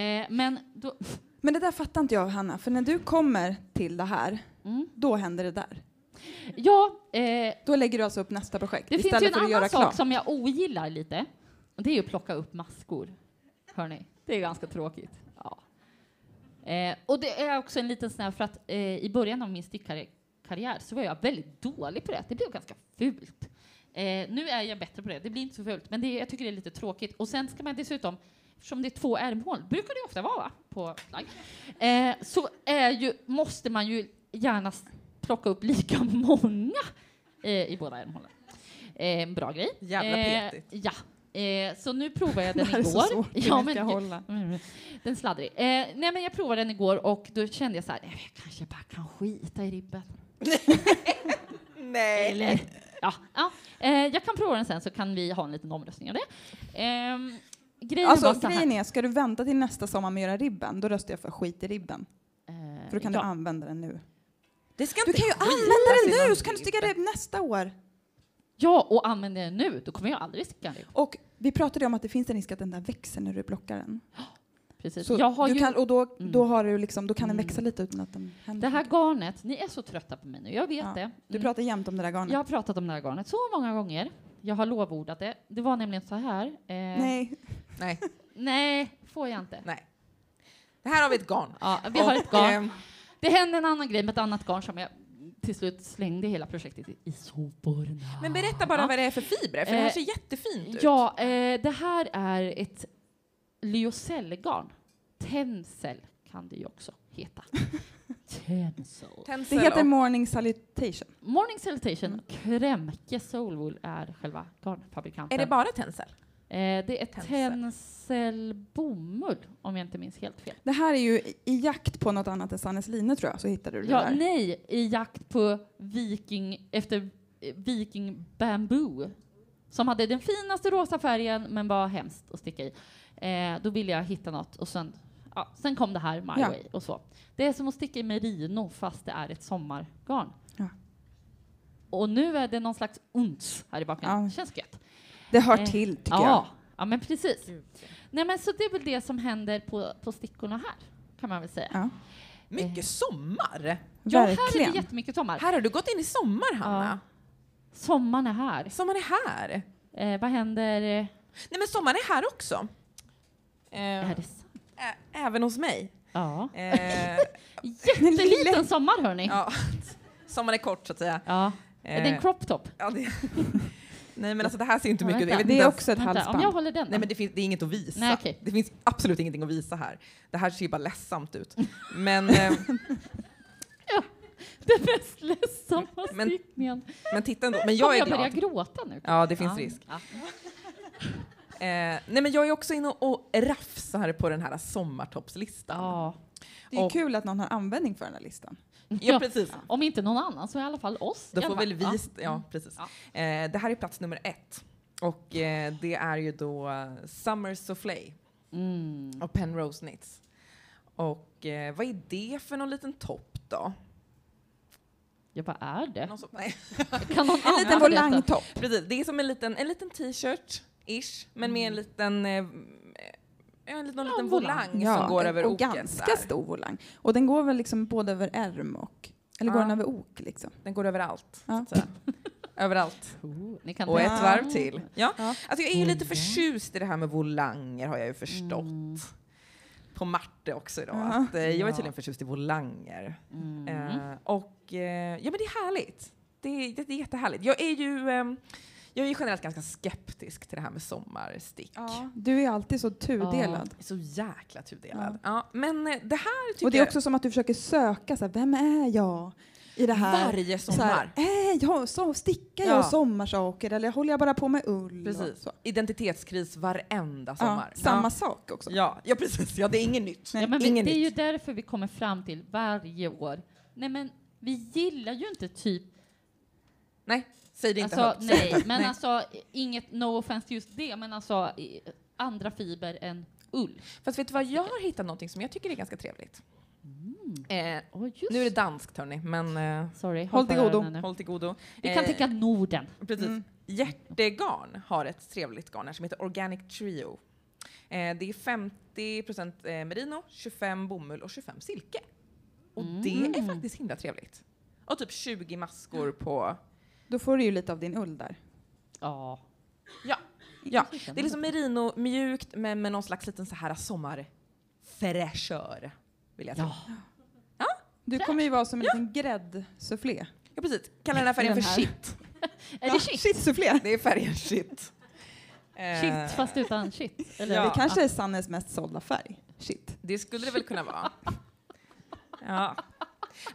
Speaker 3: Eh, men då...
Speaker 5: Men det där fattar inte jag Hanna, för när du kommer till det här,
Speaker 3: Mm.
Speaker 5: då händer det där.
Speaker 3: Ja, eh,
Speaker 5: Då lägger du alltså upp nästa projekt
Speaker 3: Det finns ju
Speaker 5: istället
Speaker 3: en
Speaker 5: för att
Speaker 3: annan
Speaker 5: göra
Speaker 3: sak
Speaker 5: klart.
Speaker 3: som jag ogillar lite. Och det är ju att plocka upp maskor. Hörni, det är ganska tråkigt. Ja. Eh, och det är också en liten sån här, för att eh, i början av min stickarkarriär så var jag väldigt dålig på det. Det blev ganska fult. Eh, nu är jag bättre på det. Det blir inte så fult, men det, är- jag tycker det är lite tråkigt. Och sen ska man dessutom, eftersom det är två ärmhål, brukar det ofta vara va? på plagg, eh, så är ju, måste man ju gärna s- plocka upp lika [LAUGHS] många eh, i båda ärmhålen. Eh, en bra grej.
Speaker 4: Jävla
Speaker 3: Eh,
Speaker 4: petigt.
Speaker 3: Ja. Eh, så nu provade
Speaker 5: [LAUGHS]
Speaker 3: jag den
Speaker 5: Det här är
Speaker 3: igår.
Speaker 5: så svårt, hur
Speaker 3: [LAUGHS] ja,
Speaker 5: den
Speaker 3: men,
Speaker 5: ska hålla.
Speaker 3: Mm, Den är sladdrig. Eh, nej, men jag provade den igår och då kände jag så här, "Eh, jag kanske bara kan skita
Speaker 5: [LAUGHS]
Speaker 3: i ribben.
Speaker 4: Nej.
Speaker 3: Eller, ja, ja. Eh, jag kan prova den sen så kan vi ha en liten omröstning av det. Ehm, grejen var
Speaker 5: Alltså
Speaker 3: så här.
Speaker 5: grejen är, ska du vänta till nästa sommar med att göra ribban, då röstar jag för skit i ribben.
Speaker 3: Eh,
Speaker 5: För då kan du
Speaker 3: ja.
Speaker 5: använda den nu.
Speaker 4: Det ska
Speaker 5: Du
Speaker 4: inte
Speaker 5: kan ju
Speaker 4: skitas
Speaker 5: använda den
Speaker 4: innan
Speaker 5: nu så kan du sticka
Speaker 4: ribben.
Speaker 5: ribb nästa år.
Speaker 3: ja, och använder jag den nu, då kommer jag aldrig sticka en ribb.
Speaker 5: Och vi pratade ju om att det finns en risk att den där växer när du plockar den.
Speaker 3: Precis.
Speaker 5: Så
Speaker 3: typ. jag har
Speaker 5: du
Speaker 3: ju,
Speaker 5: kan, och då,
Speaker 3: Mm.
Speaker 5: då, har du liksom, då kan den
Speaker 3: Mm.
Speaker 5: växa lite utan att den händer.
Speaker 3: det här garnet, ni är så trötta på mig nu, jag vet
Speaker 5: Ja,
Speaker 3: det. Mm.
Speaker 5: du pratar jämt om det där garnet.
Speaker 3: Jag har pratat om det här garnet så många gånger. Jag har lovordat det. Det var nämligen så här. eh,
Speaker 5: Nej,
Speaker 4: Nej,
Speaker 3: nej, får jag inte.
Speaker 4: nej. Det här har vi ett garn.
Speaker 3: Ja, vi har ett
Speaker 4: Och,
Speaker 3: garn.
Speaker 4: ehm,
Speaker 3: Det hände en annan grej med ett annat garn som jag till slut slängde hela projektet i- i soporna.
Speaker 4: Men berätta bara vad det är för fibrer, för det här
Speaker 3: Eh,
Speaker 4: ser jättefint ut.
Speaker 3: Ja, eh, det här är ett lyocellgarn. Tencel kan det ju också
Speaker 4: [LAUGHS]
Speaker 3: heta. Tencel.
Speaker 5: det
Speaker 4: Tencel
Speaker 5: heter
Speaker 4: och-
Speaker 5: morning salutation.
Speaker 3: Morning Salutation, Krämke Solwool är själva garnfabrikanten.
Speaker 4: Är det bara tencel?
Speaker 3: eh, det är
Speaker 4: Tencel?
Speaker 3: Tencel bomull, om jag inte minns helt fel.
Speaker 5: Det här är ju i- i jakt på något annat än Sannes Line tror jag, så hittade du det
Speaker 3: Ja,
Speaker 5: där.
Speaker 3: nej, i jakt på viking, efter eh, viking bamboo. Som hade den finaste rosa färgen men var hemskt att sticka i. Eh, då ville jag hitta något och sen, ja, sen kom det här My
Speaker 5: Ja.
Speaker 3: Way och så. Det är som att sticka i merino fast det är ett sommargarn.
Speaker 5: Ja.
Speaker 3: Och nu är det någon slags unts här i baken.
Speaker 5: Ja.
Speaker 3: Känns gött.
Speaker 5: Det hör
Speaker 3: Eh,
Speaker 5: till tycker jag.
Speaker 3: Ja, ja men precis. Nej men så det är väl det som händer på, på stickorna här kan man väl säga.
Speaker 5: Ja,
Speaker 3: Eh.
Speaker 4: Mycket sommar!
Speaker 3: Ja, här är
Speaker 5: verkligen.
Speaker 3: det
Speaker 5: [LAUGHS]
Speaker 3: jättemycket sommar.
Speaker 4: Här har du gått in i sommar, Hanna.
Speaker 3: Sommaren är här.
Speaker 4: Sommaren är här.
Speaker 3: Eh, vad händer? eh,
Speaker 4: Nej, men sommaren är här också. Eh,
Speaker 3: Är det sant?
Speaker 4: ä- Även hos mig.
Speaker 3: Ja. [LAUGHS]
Speaker 4: Eh,
Speaker 3: Jätteliten sommar hörni. Ja.
Speaker 4: ja. Sommaren är kort, så att säga.
Speaker 3: Är
Speaker 4: Eh.
Speaker 3: det en crop top?
Speaker 4: Ja, det... [LAUGHS] Nej, men alltså det här ser ju inte
Speaker 3: Ja,
Speaker 4: mycket ut. Jag
Speaker 3: vänta.
Speaker 4: vet
Speaker 5: det
Speaker 4: inte
Speaker 5: är
Speaker 4: ens-
Speaker 5: också ett
Speaker 3: Vänta, om
Speaker 5: halsband.
Speaker 3: jag håller den.
Speaker 4: Nej, men det, finns, det är inget att visa.
Speaker 3: Nej, okej.
Speaker 4: Det finns absolut ingenting att visa här. Det här ser ju bara ledsamt ut.
Speaker 3: [LAUGHS]
Speaker 4: Men, eh,
Speaker 3: [LAUGHS] Den mest ledsamma
Speaker 4: Men-
Speaker 3: stickningen.
Speaker 4: men titta ändå. Men
Speaker 3: Kommer
Speaker 4: jag är
Speaker 3: börja
Speaker 4: glad.
Speaker 3: gråta nu?
Speaker 4: Ja, det finns risk.
Speaker 3: Ja.
Speaker 4: Eh, nej, men jag är också inne och, och rafsar på den här sommartoppslistan.
Speaker 3: Ja.
Speaker 5: Det är ju
Speaker 4: Och-
Speaker 5: kul att någon har användning för den här listan.
Speaker 4: Ja, precis.
Speaker 3: Om inte någon annan så i alla fall oss.
Speaker 4: Då
Speaker 3: i alla
Speaker 4: får
Speaker 3: fall.
Speaker 4: väl vi... st- Ja, precis.
Speaker 3: Ja.
Speaker 4: Eh, det här är plats nummer ett. Och eh, det är ju då eh, Summer Soufflé
Speaker 3: Ja. Mm.
Speaker 4: och Penrose Knits. Och eh, vad är det för någon liten topp då?
Speaker 3: Ja, vad är det?
Speaker 4: Någon som, [LAUGHS] nej.
Speaker 3: Kan någon annan
Speaker 5: En liten
Speaker 3: berätta?
Speaker 5: volangtopp.
Speaker 4: Precis, det är som en liten, en liten t-shirt, ish, men med en liten, eh, eh, en, någon
Speaker 3: Ja,
Speaker 4: liten
Speaker 3: volang.
Speaker 4: volang som går
Speaker 5: en-
Speaker 4: över
Speaker 5: och
Speaker 4: oket.
Speaker 5: ganska
Speaker 4: där.
Speaker 5: stor volang. Och den går väl liksom både över ärm och... Eller går
Speaker 4: Ja.
Speaker 5: den över ok liksom?
Speaker 4: Den går överallt.
Speaker 5: Ja.
Speaker 4: Så att
Speaker 5: [LAUGHS]
Speaker 4: säga. överallt.
Speaker 3: Oh, ni kan
Speaker 4: Och
Speaker 3: tänka-
Speaker 4: ett varv till. Ja.
Speaker 5: Ja. Mm.
Speaker 4: Alltså jag är ju lite förtjust i det här med volanger har jag ju
Speaker 3: Mm.
Speaker 4: förstått. På Marte också idag.
Speaker 5: Ja.
Speaker 4: Att, eh, jag är
Speaker 3: Ja.
Speaker 4: tydligen förtjust i volanger.
Speaker 3: Mm.
Speaker 4: Eh, och eh, ja men det är härligt. Det är, det, det är jättehärligt. Jag är ju ehm, jag är ju generellt ganska skeptisk till det här med sommarstick.
Speaker 5: Du är alltid så tudelad.
Speaker 4: Så jäkla tudelad. Ja. men eh, det här tycker
Speaker 5: Och det är
Speaker 4: jag-
Speaker 5: också som att du försöker söka, så här, vem är jag i det här?
Speaker 4: Varje
Speaker 5: Så här,
Speaker 4: sommar.
Speaker 5: är jag, så, stickar jag
Speaker 4: Ja.
Speaker 5: sommarsaker eller håller jag bara på med ull? Och
Speaker 4: Precis.
Speaker 5: så.
Speaker 4: Identitetskris varenda
Speaker 5: Ja,
Speaker 4: sommar.
Speaker 5: samma sak också.
Speaker 4: Ja, ja precis. Ja, det är inget nytt.
Speaker 3: Ja, men vi,
Speaker 4: Ingen
Speaker 3: det är ju
Speaker 4: nytt.
Speaker 3: därför vi kommer fram till varje år. Nej, men vi gillar ju inte typ...
Speaker 4: Nej, säg det inte
Speaker 3: Alltså,
Speaker 4: högt. Säg det [LAUGHS]
Speaker 3: nej,
Speaker 4: inte.
Speaker 3: men alltså inget no offense till just det, men alltså i- andra fiber än ull.
Speaker 4: Fast vet du vad, jag har hittat någonting som jag tycker är ganska trevligt.
Speaker 5: Mm.
Speaker 4: Eh,
Speaker 3: Oh, just.
Speaker 4: nu är det danskt hörni, men eh,
Speaker 3: Sorry,
Speaker 5: Håll till
Speaker 3: för
Speaker 5: godo.
Speaker 3: öronen nu.
Speaker 4: håll till godo.
Speaker 3: Vi kan
Speaker 4: Eh,
Speaker 3: tänka Norden.
Speaker 4: Precis.
Speaker 5: Mm.
Speaker 4: Hjärtegarn har ett trevligt garn här som heter Organic Trio. Eh, det är 50%
Speaker 3: Mm.
Speaker 4: eh, merino, 25 bomull och 25 silke. Och det är faktiskt himla trevligt. Och typ 20 maskor på...
Speaker 5: Då får du ju lite av din ull där.
Speaker 3: Ja.
Speaker 4: Ja, det är liksom merino, mjukt men med någon slags liten så här sommarfräschör. Vill jag säga.
Speaker 3: Ja.
Speaker 5: Du kommer ju vara som en liten gräddsufflé.
Speaker 4: Ja, precis. Kallar den här färgen
Speaker 5: Den
Speaker 4: för
Speaker 5: här.
Speaker 4: shit.
Speaker 3: Är det shit?
Speaker 5: Shitsufflé!
Speaker 4: Det är färgen shit. Eh,
Speaker 3: Shit fast
Speaker 4: [LAUGHS]
Speaker 3: utan shit. Eller?
Speaker 4: Ja.
Speaker 5: Det kanske är Sannes mest sålda färg. Shit.
Speaker 4: Det skulle det väl kunna vara. Ja.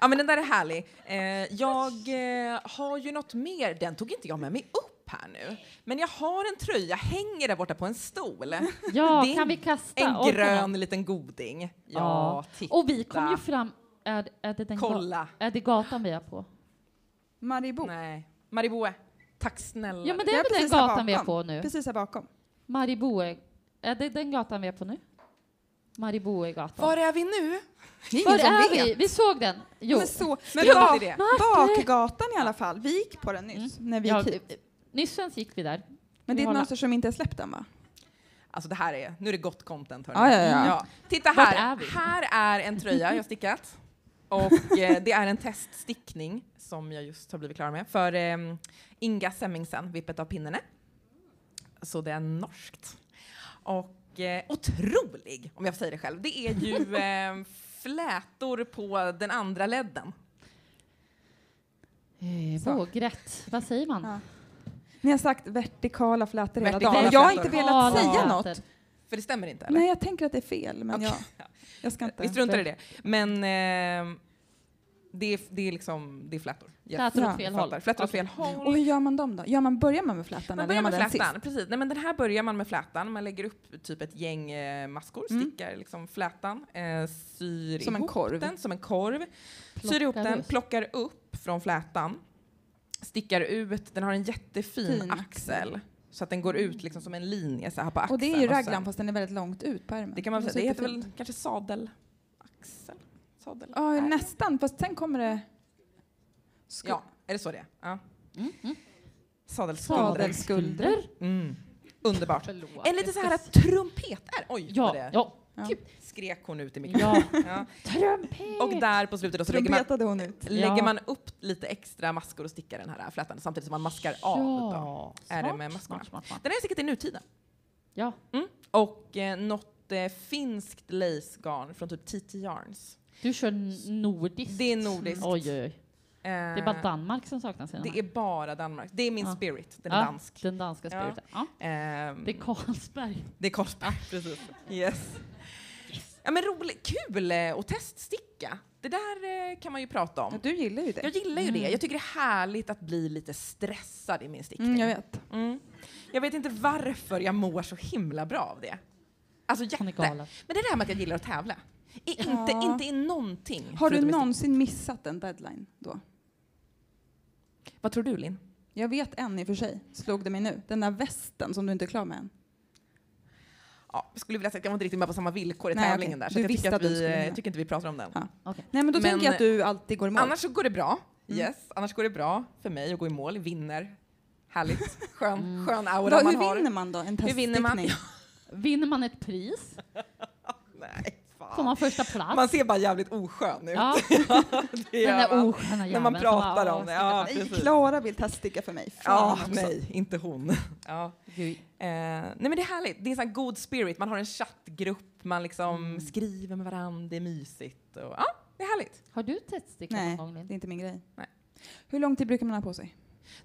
Speaker 4: ja, men den där är härlig. Eh, jag eh, har ju något mer. Den tog inte jag med mig upp här nu. Men jag har en tröja, hänger där borta på en
Speaker 3: [LAUGHS]
Speaker 4: stol.
Speaker 3: Ja,
Speaker 4: Det är
Speaker 3: kan vi kasta?
Speaker 4: En
Speaker 3: Orkar
Speaker 4: grön
Speaker 3: man?
Speaker 4: liten goding. Ja,
Speaker 3: Ja.
Speaker 4: titta.
Speaker 3: Och vi kom ju fram... Är, är, det den ga-
Speaker 4: Kolla.
Speaker 3: är det gatan vi är på?
Speaker 5: Maribou.
Speaker 4: Nej. Mariboe, tack snälla.
Speaker 3: Ja, men det
Speaker 5: Jag
Speaker 3: är
Speaker 5: är
Speaker 3: väl den
Speaker 5: precis här
Speaker 3: gatan vi är
Speaker 5: bakom.
Speaker 3: på nu?
Speaker 5: Precis här bakom.
Speaker 3: Mariboe... Är det den gatan vi är på nu? Mariboegatan.
Speaker 4: Var är vi nu?
Speaker 5: Det är
Speaker 3: Var
Speaker 5: ingen som
Speaker 3: är
Speaker 5: vet.
Speaker 3: vi? Vi såg den. Jo.
Speaker 5: Men, så, men
Speaker 4: Jo,
Speaker 5: bak,
Speaker 4: det är det.
Speaker 5: bakgatan i alla fall. Vi gick på den nyss.
Speaker 4: Mm.
Speaker 5: När vi
Speaker 3: Ja,
Speaker 5: gick hit.
Speaker 3: Nyss ens gick vi där.
Speaker 5: Men det är ett
Speaker 3: Hålla.
Speaker 5: mönster som inte är släppt än va?
Speaker 4: Alltså det här är, nu är det gott content hörni.
Speaker 5: Ja, ja, ja.
Speaker 4: Titta
Speaker 3: Vart
Speaker 4: här,
Speaker 3: är vi?
Speaker 4: här är en tröja jag
Speaker 3: [LAUGHS]
Speaker 4: stickat. Och eh, det är en teststickning som jag just har blivit klar med för eh, Inga Semmingsen, Vippet av pinnene. Så det är norskt. Och eh, otrolig, om jag säger det själv. Det är
Speaker 3: [LAUGHS]
Speaker 4: ju eh, flätor på den andra ledden.
Speaker 3: Eh,
Speaker 5: Så.
Speaker 3: Vågrätt. Vad säger man?
Speaker 5: Ja. Ni har sagt vertikala flätor hela
Speaker 4: Vertikala
Speaker 5: dagen. Jag har
Speaker 4: flätor.
Speaker 5: inte velat
Speaker 3: Kala
Speaker 5: säga
Speaker 3: flätor.
Speaker 5: något.
Speaker 4: För det stämmer inte? Eller?
Speaker 5: Nej, jag tänker att det är fel, men
Speaker 4: Okej.
Speaker 5: jag, jag ska inte...
Speaker 4: Vi struntar i det. Men eh, det, är, det är liksom, det är flätor. Jag
Speaker 3: Flätor åt
Speaker 5: Ja,
Speaker 3: fel
Speaker 4: fattar.
Speaker 3: håll.
Speaker 4: Flätor åt fel håll.
Speaker 5: Och hur gör man dem då? Gör man, börjar man med flätan
Speaker 4: Man
Speaker 5: eller gör
Speaker 4: börjar
Speaker 5: man den
Speaker 4: med
Speaker 5: sist?
Speaker 4: flätan, precis. Nej, men den här börjar man med flätan. Man lägger upp typ ett gäng eh, maskor,
Speaker 5: Mm.
Speaker 4: stickar liksom flätan, eh, syr
Speaker 5: Som en
Speaker 4: ihop
Speaker 5: korv.
Speaker 4: den som en korv, syr ihop
Speaker 3: Plockar
Speaker 4: den,
Speaker 3: loss.
Speaker 4: plockar upp från flätan, stickar ut. Den har en jättefin
Speaker 5: Fin
Speaker 4: axel så att den går ut liksom som en linje så här på axeln.
Speaker 5: Och det är ju raglan
Speaker 4: sen-
Speaker 5: fast den är väldigt långt ut på ärmen.
Speaker 4: Det kan man väl
Speaker 5: var
Speaker 4: säga. Det heter
Speaker 5: superfint.
Speaker 4: väl kanske sadelaxel? Sadel.
Speaker 5: Ja,
Speaker 4: Nej.
Speaker 5: nästan. Fast sen kommer det... Sko-
Speaker 4: Ja, är det så det är? Ja.
Speaker 3: Mm, mm.
Speaker 4: Sadelskulder.
Speaker 5: Sadelskulder.
Speaker 4: Mm. Underbart.
Speaker 3: Förlåt.
Speaker 4: En lite så här trumpeter. Oj, vad
Speaker 3: Ja,
Speaker 4: det
Speaker 3: ja.
Speaker 4: skrek hon ut i micken.
Speaker 3: ja.
Speaker 4: Ja.
Speaker 3: Trumpet!
Speaker 4: Och där på slutet då så lägger man,
Speaker 5: Trumpetade hon ut.
Speaker 4: lägger
Speaker 3: Ja.
Speaker 4: man upp lite extra maskor och stickar den här flätan samtidigt som man maskar av. Då. Är det med maskorna?
Speaker 3: Smart, smart, smart.
Speaker 4: Den är säkert i nutiden.
Speaker 3: Ja.
Speaker 4: Mm. Och eh, något eh, finskt lacegarn från typ TT Yarns.
Speaker 3: Du kör n- nordiskt.
Speaker 4: Det är nordiskt.
Speaker 3: Oj, oj, oj.
Speaker 4: Det
Speaker 3: Det är bara Danmark som saknas i den
Speaker 4: Eh, Det
Speaker 3: här.
Speaker 4: är bara Danmark. Det är min
Speaker 3: Ja.
Speaker 4: spirit, den
Speaker 3: Ja,
Speaker 4: är dansk.
Speaker 3: Den danska
Speaker 4: Ja.
Speaker 3: spiriten. Ja.
Speaker 4: Ehm,
Speaker 3: Det är Carlsberg.
Speaker 4: Det är [LAUGHS] Carlsberg, precis. Yes. Ja men roligt, kul eh, att teststicka. Det där eh, kan man ju prata
Speaker 5: Ja,
Speaker 4: om.
Speaker 5: du gillar ju
Speaker 4: Jag
Speaker 5: det.
Speaker 4: gillar ju det.
Speaker 3: Mm.
Speaker 4: Jag tycker det är härligt att bli lite stressad i min stickning.
Speaker 5: Mm, jag vet.
Speaker 4: Mm. Jag vet inte varför jag mår så himla bra av det. Alltså jätte.
Speaker 3: Han är
Speaker 4: Men
Speaker 3: galen.
Speaker 4: det är det här med att jag gillar att tävla. I, inte,
Speaker 5: Ja.
Speaker 4: inte i någonting.
Speaker 5: Har du
Speaker 4: förutom i stick-
Speaker 5: någonsin missat en deadline då?
Speaker 4: Vad tror du Linn?
Speaker 5: Jag vet en i och för sig, slog det mig nu. Den där västen som du inte är klar med än.
Speaker 4: Ja, jag skulle vilja säga att jag var inte riktigt med på samma villkor i
Speaker 5: Nej,
Speaker 4: tävlingen där.
Speaker 5: okej.
Speaker 4: Så
Speaker 5: Du
Speaker 4: att jag,
Speaker 5: visste
Speaker 4: tycker att
Speaker 5: att du
Speaker 4: vi,
Speaker 5: skulle
Speaker 4: eh,
Speaker 5: vinna.
Speaker 4: jag tycker inte vi pratar om den.
Speaker 5: Nej men då
Speaker 4: Men-
Speaker 5: tänker jag att du alltid går i mål.
Speaker 4: Annars så går det bra.
Speaker 5: Mm.
Speaker 4: Yes. Annars går det bra för mig att gå i mål, vinner. Härligt.
Speaker 5: [LAUGHS]
Speaker 4: Skön, skön aura
Speaker 5: Mm. Vad-
Speaker 4: man
Speaker 5: hur
Speaker 4: har.
Speaker 5: vinner man då en
Speaker 4: Hur
Speaker 5: teststickning?
Speaker 4: vinner man?
Speaker 3: Vinner man ett pris
Speaker 4: Nej,
Speaker 3: får
Speaker 4: fan.
Speaker 3: man första plats.
Speaker 4: Man ser bara jävligt oskön ut.
Speaker 3: ja,
Speaker 4: [LAUGHS] Det
Speaker 3: den
Speaker 4: gör
Speaker 3: där
Speaker 4: man.
Speaker 3: osköna
Speaker 4: När man
Speaker 3: jäveln som bara,
Speaker 4: pratar
Speaker 3: "Åh,
Speaker 4: om det.
Speaker 3: stickar
Speaker 4: Ja,
Speaker 3: fast."
Speaker 5: Nej,
Speaker 4: precis.
Speaker 5: Klara vill teststicka för mig. Fan
Speaker 4: Ja,
Speaker 5: också.
Speaker 4: nej, inte
Speaker 5: [LAUGHS]
Speaker 4: hon. Ja. Eh, nej men det är härligt. Det är en sån här god spirit. Man har en chattgrupp, man liksom skriver med varandra, det är mysigt. Och, ja, det är härligt.
Speaker 3: Har du teststickat
Speaker 5: Nej.
Speaker 3: någon gång? Linn?
Speaker 5: Det är inte min grej.
Speaker 4: Nej.
Speaker 5: Hur lång tid brukar man ha på sig?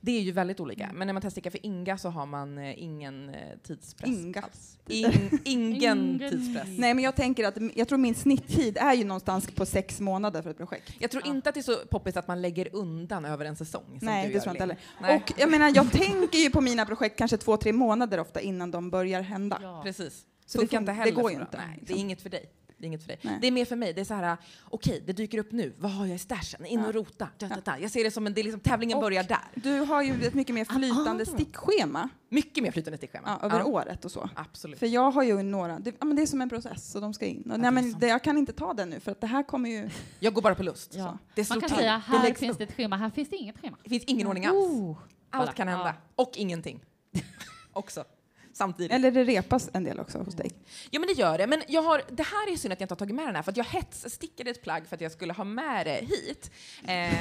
Speaker 4: Det är ju väldigt olika. Men när man teststickar för Inga så har man eh, ingen eh, tidspress.
Speaker 5: Inga.
Speaker 4: alls. In, [LAUGHS] ingen
Speaker 3: Ingen.
Speaker 4: tidspress.
Speaker 5: Nej, men jag tänker att jag tror min snitttid är ju någonstans på sex månader för ett projekt.
Speaker 4: Jag tror
Speaker 3: Ja.
Speaker 4: inte att det är så poppis att man lägger undan över en säsong. Som
Speaker 5: Nej,
Speaker 4: du
Speaker 5: det
Speaker 4: gör,
Speaker 5: tror jag inte
Speaker 4: Linn.
Speaker 5: heller.
Speaker 4: Nej.
Speaker 5: Och jag menar, jag tänker ju på mina projekt kanske två, tre månader ofta innan de börjar hända.
Speaker 3: Ja.
Speaker 4: Precis.
Speaker 5: Så det
Speaker 4: Funkar
Speaker 5: fun-
Speaker 4: inte
Speaker 5: det
Speaker 4: heller
Speaker 5: går
Speaker 4: så
Speaker 5: ju
Speaker 4: bra.
Speaker 5: inte,
Speaker 4: Nej, det är
Speaker 5: liksom.
Speaker 4: inget för dig. Det är inget för dig.
Speaker 5: Nej.
Speaker 4: Det är mer för mig. Det är så här, okej, det dyker upp nu. Vad har jag i stashen? In och rota. Da, da, da. Jag ser det som en, det är liksom, tävlingen
Speaker 5: Och-
Speaker 4: börjar där.
Speaker 5: Du har ju ett mycket mer
Speaker 4: Ah,
Speaker 5: flytande stickschema
Speaker 4: Mycket mer flytande stickschema.
Speaker 5: ja, över året och så.
Speaker 4: Absolut.
Speaker 5: För jag har ju några, det, ja, men det är som en process och de ska in. Och,
Speaker 4: det är
Speaker 5: nej, men
Speaker 4: sant.
Speaker 5: det, jag kan inte ta den nu för att det här kommer ju...
Speaker 4: Jag går bara på lust.
Speaker 3: Ja.
Speaker 4: Det slår
Speaker 3: Man kan
Speaker 4: till.
Speaker 3: säga
Speaker 4: det
Speaker 3: här
Speaker 4: läggs
Speaker 3: finns
Speaker 4: upp.
Speaker 3: det ett schema, här finns det inget schema.
Speaker 4: Det finns ingen ordning alls.
Speaker 3: Oh.
Speaker 4: Allt
Speaker 3: Kolla.
Speaker 4: kan hända. Och ingenting. [LAUGHS] Också. Samtidigt.
Speaker 5: Eller det repas en del också hos dig.
Speaker 4: Ja men det gör det. Men jag har, det här är synd att jag inte har tagit med den här för att jag hetsstickade ett plagg för att jag skulle ha med det hit. Eh,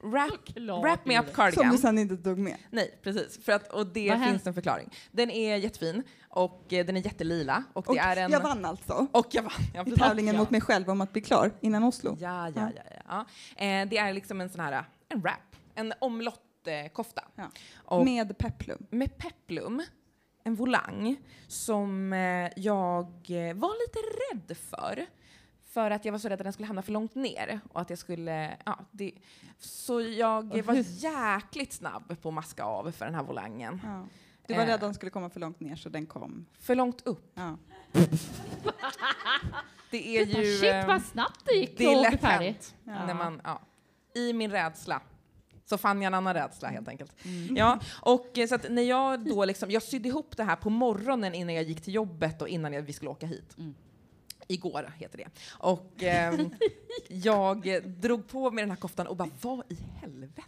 Speaker 4: Wrap,
Speaker 3: Klart
Speaker 4: wrap me
Speaker 3: du
Speaker 4: up
Speaker 3: gjorde.
Speaker 5: Som du
Speaker 4: cardigan.
Speaker 5: sen inte tog med.
Speaker 4: Nej, precis. För att, och det
Speaker 3: Vad
Speaker 4: finns
Speaker 3: hände?
Speaker 4: en förklaring. Den är jättefin och eh, den är jättelila. Och det
Speaker 5: Och
Speaker 4: är en...
Speaker 5: jag vann alltså.
Speaker 4: Och jag vann. Ja,
Speaker 5: I
Speaker 4: precis.
Speaker 5: tävlingen mot mig själv om att bli klar innan Oslo.
Speaker 4: Ja, ja, ja. ja. ja. Eh, det är liksom en sån här, en wrap. En omlott eh, kofta.
Speaker 5: Ja.
Speaker 4: Och med,
Speaker 5: Med peplum.
Speaker 4: peplum, en volang, som eh, jag eh, var lite rädd för. För att jag var så rädd att den skulle hamna för långt ner och att jag skulle, ja, det, så jag var jäkligt snabb på att maska av för den här volangen.
Speaker 5: Ja. Du var
Speaker 4: Eh.
Speaker 5: rädd att den skulle komma för långt ner så den kom.
Speaker 4: För långt upp.
Speaker 5: Ja.
Speaker 4: Det är
Speaker 3: Titta,
Speaker 4: ju...
Speaker 3: Shit
Speaker 4: eh,
Speaker 3: vad snabbt det gick
Speaker 4: Det är
Speaker 3: att bli
Speaker 4: lätt
Speaker 3: färdig.
Speaker 4: hänt.
Speaker 5: Ja.
Speaker 4: När man, ja. I min rädsla så fann jag en annan rädsla helt enkelt.
Speaker 5: Mm.
Speaker 4: Ja, och eh, så att när jag då liksom, jag sydde ihop det här på morgonen innan jag gick till jobbet och innan jag, vi skulle åka hit.
Speaker 3: Mm.
Speaker 4: Igår heter det. Och
Speaker 5: [LAUGHS]
Speaker 4: ehm, jag eh, drog på mig den här koftan och bara, vad i helvete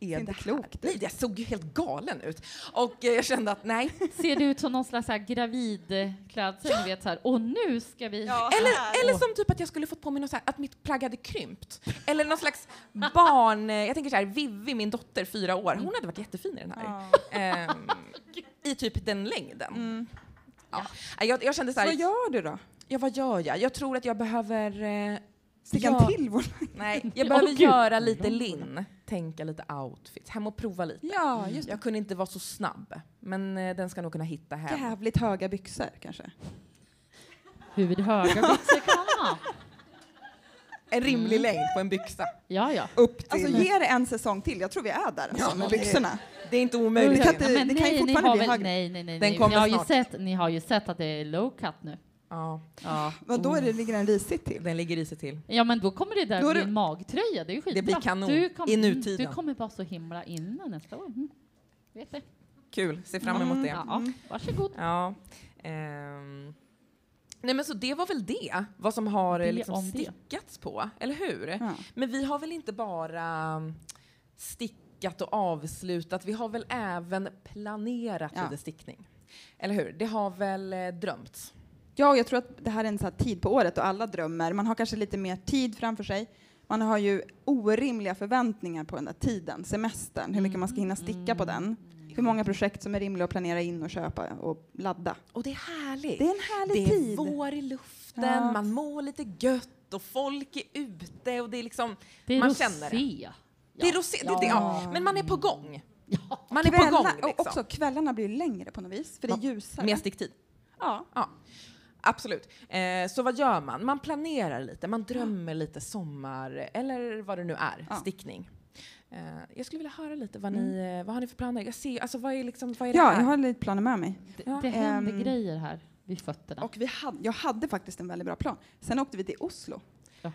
Speaker 4: är
Speaker 5: Inte
Speaker 4: det här?
Speaker 5: klokt.
Speaker 4: Nej, jag såg ju helt galen ut. Och eh, jag kände att nej,
Speaker 3: Ser det ut som någon slags så här gravidklädsel, ni vet så här, och nu ska vi...
Speaker 4: Eller, eller som typ att jag skulle fått på mig något så här, att mitt plagg hade krympt. Eller någon slags barn... eh, Jag tänker så här, Vivi, min dotter, fyra år, hon hade varit jättefin i den här.
Speaker 5: Ja. Mm.
Speaker 4: Ehm, I typ den längden. Ja. Nej, Jag, jag kände så
Speaker 5: Så vad
Speaker 4: här,
Speaker 5: gör du då?
Speaker 4: ja, vad gör jag? Jag tror att jag behöver... eh,
Speaker 5: Sticka
Speaker 4: Ja.
Speaker 5: en till vår... [LAUGHS]
Speaker 4: Nej, jag behöver
Speaker 3: Gud.
Speaker 4: göra lite lin. Tänka lite outfits. Hem och prova lite.
Speaker 5: Ja, just
Speaker 4: Jag kunde inte vara så snabb, men eh, den ska nog kunna hitta hem.
Speaker 5: Jävligt höga byxor kanske.
Speaker 3: Hur höga byxor kan man ha?
Speaker 4: En
Speaker 5: Mm.
Speaker 4: rimlig längd på en byxa.
Speaker 3: Ja, ja.
Speaker 5: Upp till. Alltså ge det en säsong till. Jag tror vi är där alltså, med byxorna.
Speaker 4: Det är inte
Speaker 5: Det
Speaker 4: omöjligt.
Speaker 5: kan inte-
Speaker 3: Men
Speaker 5: det kan ju
Speaker 3: nej, ni
Speaker 5: fortfarande
Speaker 3: har
Speaker 5: bli
Speaker 3: väl-
Speaker 5: högre.
Speaker 3: Nej, nej, nej.
Speaker 4: Den
Speaker 3: nej. Ni,
Speaker 4: kommer
Speaker 3: har ju
Speaker 4: snart.
Speaker 3: sett, ni har ju sett att det är low cut nu.
Speaker 4: Ja,
Speaker 3: Ja.
Speaker 5: Vad då är det ligger den risigt till?
Speaker 4: den ligger i sig till.
Speaker 3: Ja men då kommer det där
Speaker 5: Då är
Speaker 3: bli
Speaker 5: det-
Speaker 3: en magtröja, det är ju skitbra.
Speaker 4: Det blir kanon
Speaker 3: Du kom-
Speaker 4: i
Speaker 3: mm,
Speaker 4: nutiden.
Speaker 3: Du kommer vara så himla inne nästa år. Mm. Vet det.
Speaker 4: Kul, se fram
Speaker 5: Mm.
Speaker 4: emot det.
Speaker 3: Ja, varsågod.
Speaker 4: Ja. ehm. Nej men så det var väl det, vad som har eh,
Speaker 3: Det
Speaker 4: liksom
Speaker 3: om det.
Speaker 4: stickats på, eller hur?
Speaker 5: Ja.
Speaker 4: Men vi har väl inte bara mm, stickat och avslutat, vi har väl även planerat
Speaker 5: Ja.
Speaker 4: lite stickning. Eller hur? Det har väl eh, drömts?
Speaker 5: Ja, och jag tror att det här är en sån här tid på året och alla drömmer. Man har kanske lite mer tid framför sig. Man har ju orimliga förväntningar på den där tiden, semestern, hur mycket man ska hinna sticka på den. Hur många projekt som är rimliga att planera in och köpa och ladda.
Speaker 4: Och det är härligt.
Speaker 5: Det är en härlig
Speaker 4: det är
Speaker 5: tid.
Speaker 4: vår i luften,
Speaker 5: Ja.
Speaker 4: man mår lite gött och folk är ute och det är liksom,
Speaker 3: Det är
Speaker 4: man
Speaker 3: rosé.
Speaker 4: känner det.
Speaker 3: Ja.
Speaker 4: Det är rosé, det, det, ja. Men man är på gång.
Speaker 3: Ja.
Speaker 4: Man är på
Speaker 5: Kvällar-
Speaker 4: gång liksom.
Speaker 5: och också kvällarna blir ju längre på något vis, för det är
Speaker 4: Ja,
Speaker 5: ljusare.
Speaker 4: Mer sticktid.
Speaker 5: Ja.
Speaker 4: Ja, absolut. Eh, så vad gör man? Man planerar lite, man drömmer lite sommar eller vad det nu är,
Speaker 5: Ja.
Speaker 4: stickning. Eh, jag skulle vilja höra lite vad ni, eh, vad har ni för planer? Jag ser, alltså vad är liksom, vad är det
Speaker 5: Mm. ja,
Speaker 4: här?
Speaker 5: jag har lite planer med mig.
Speaker 3: Det, det händer
Speaker 5: Ehm.
Speaker 3: grejer här vid fötterna.
Speaker 5: Och vi hade, jag hade faktiskt en väldigt bra plan. Sen åkte vi till Oslo.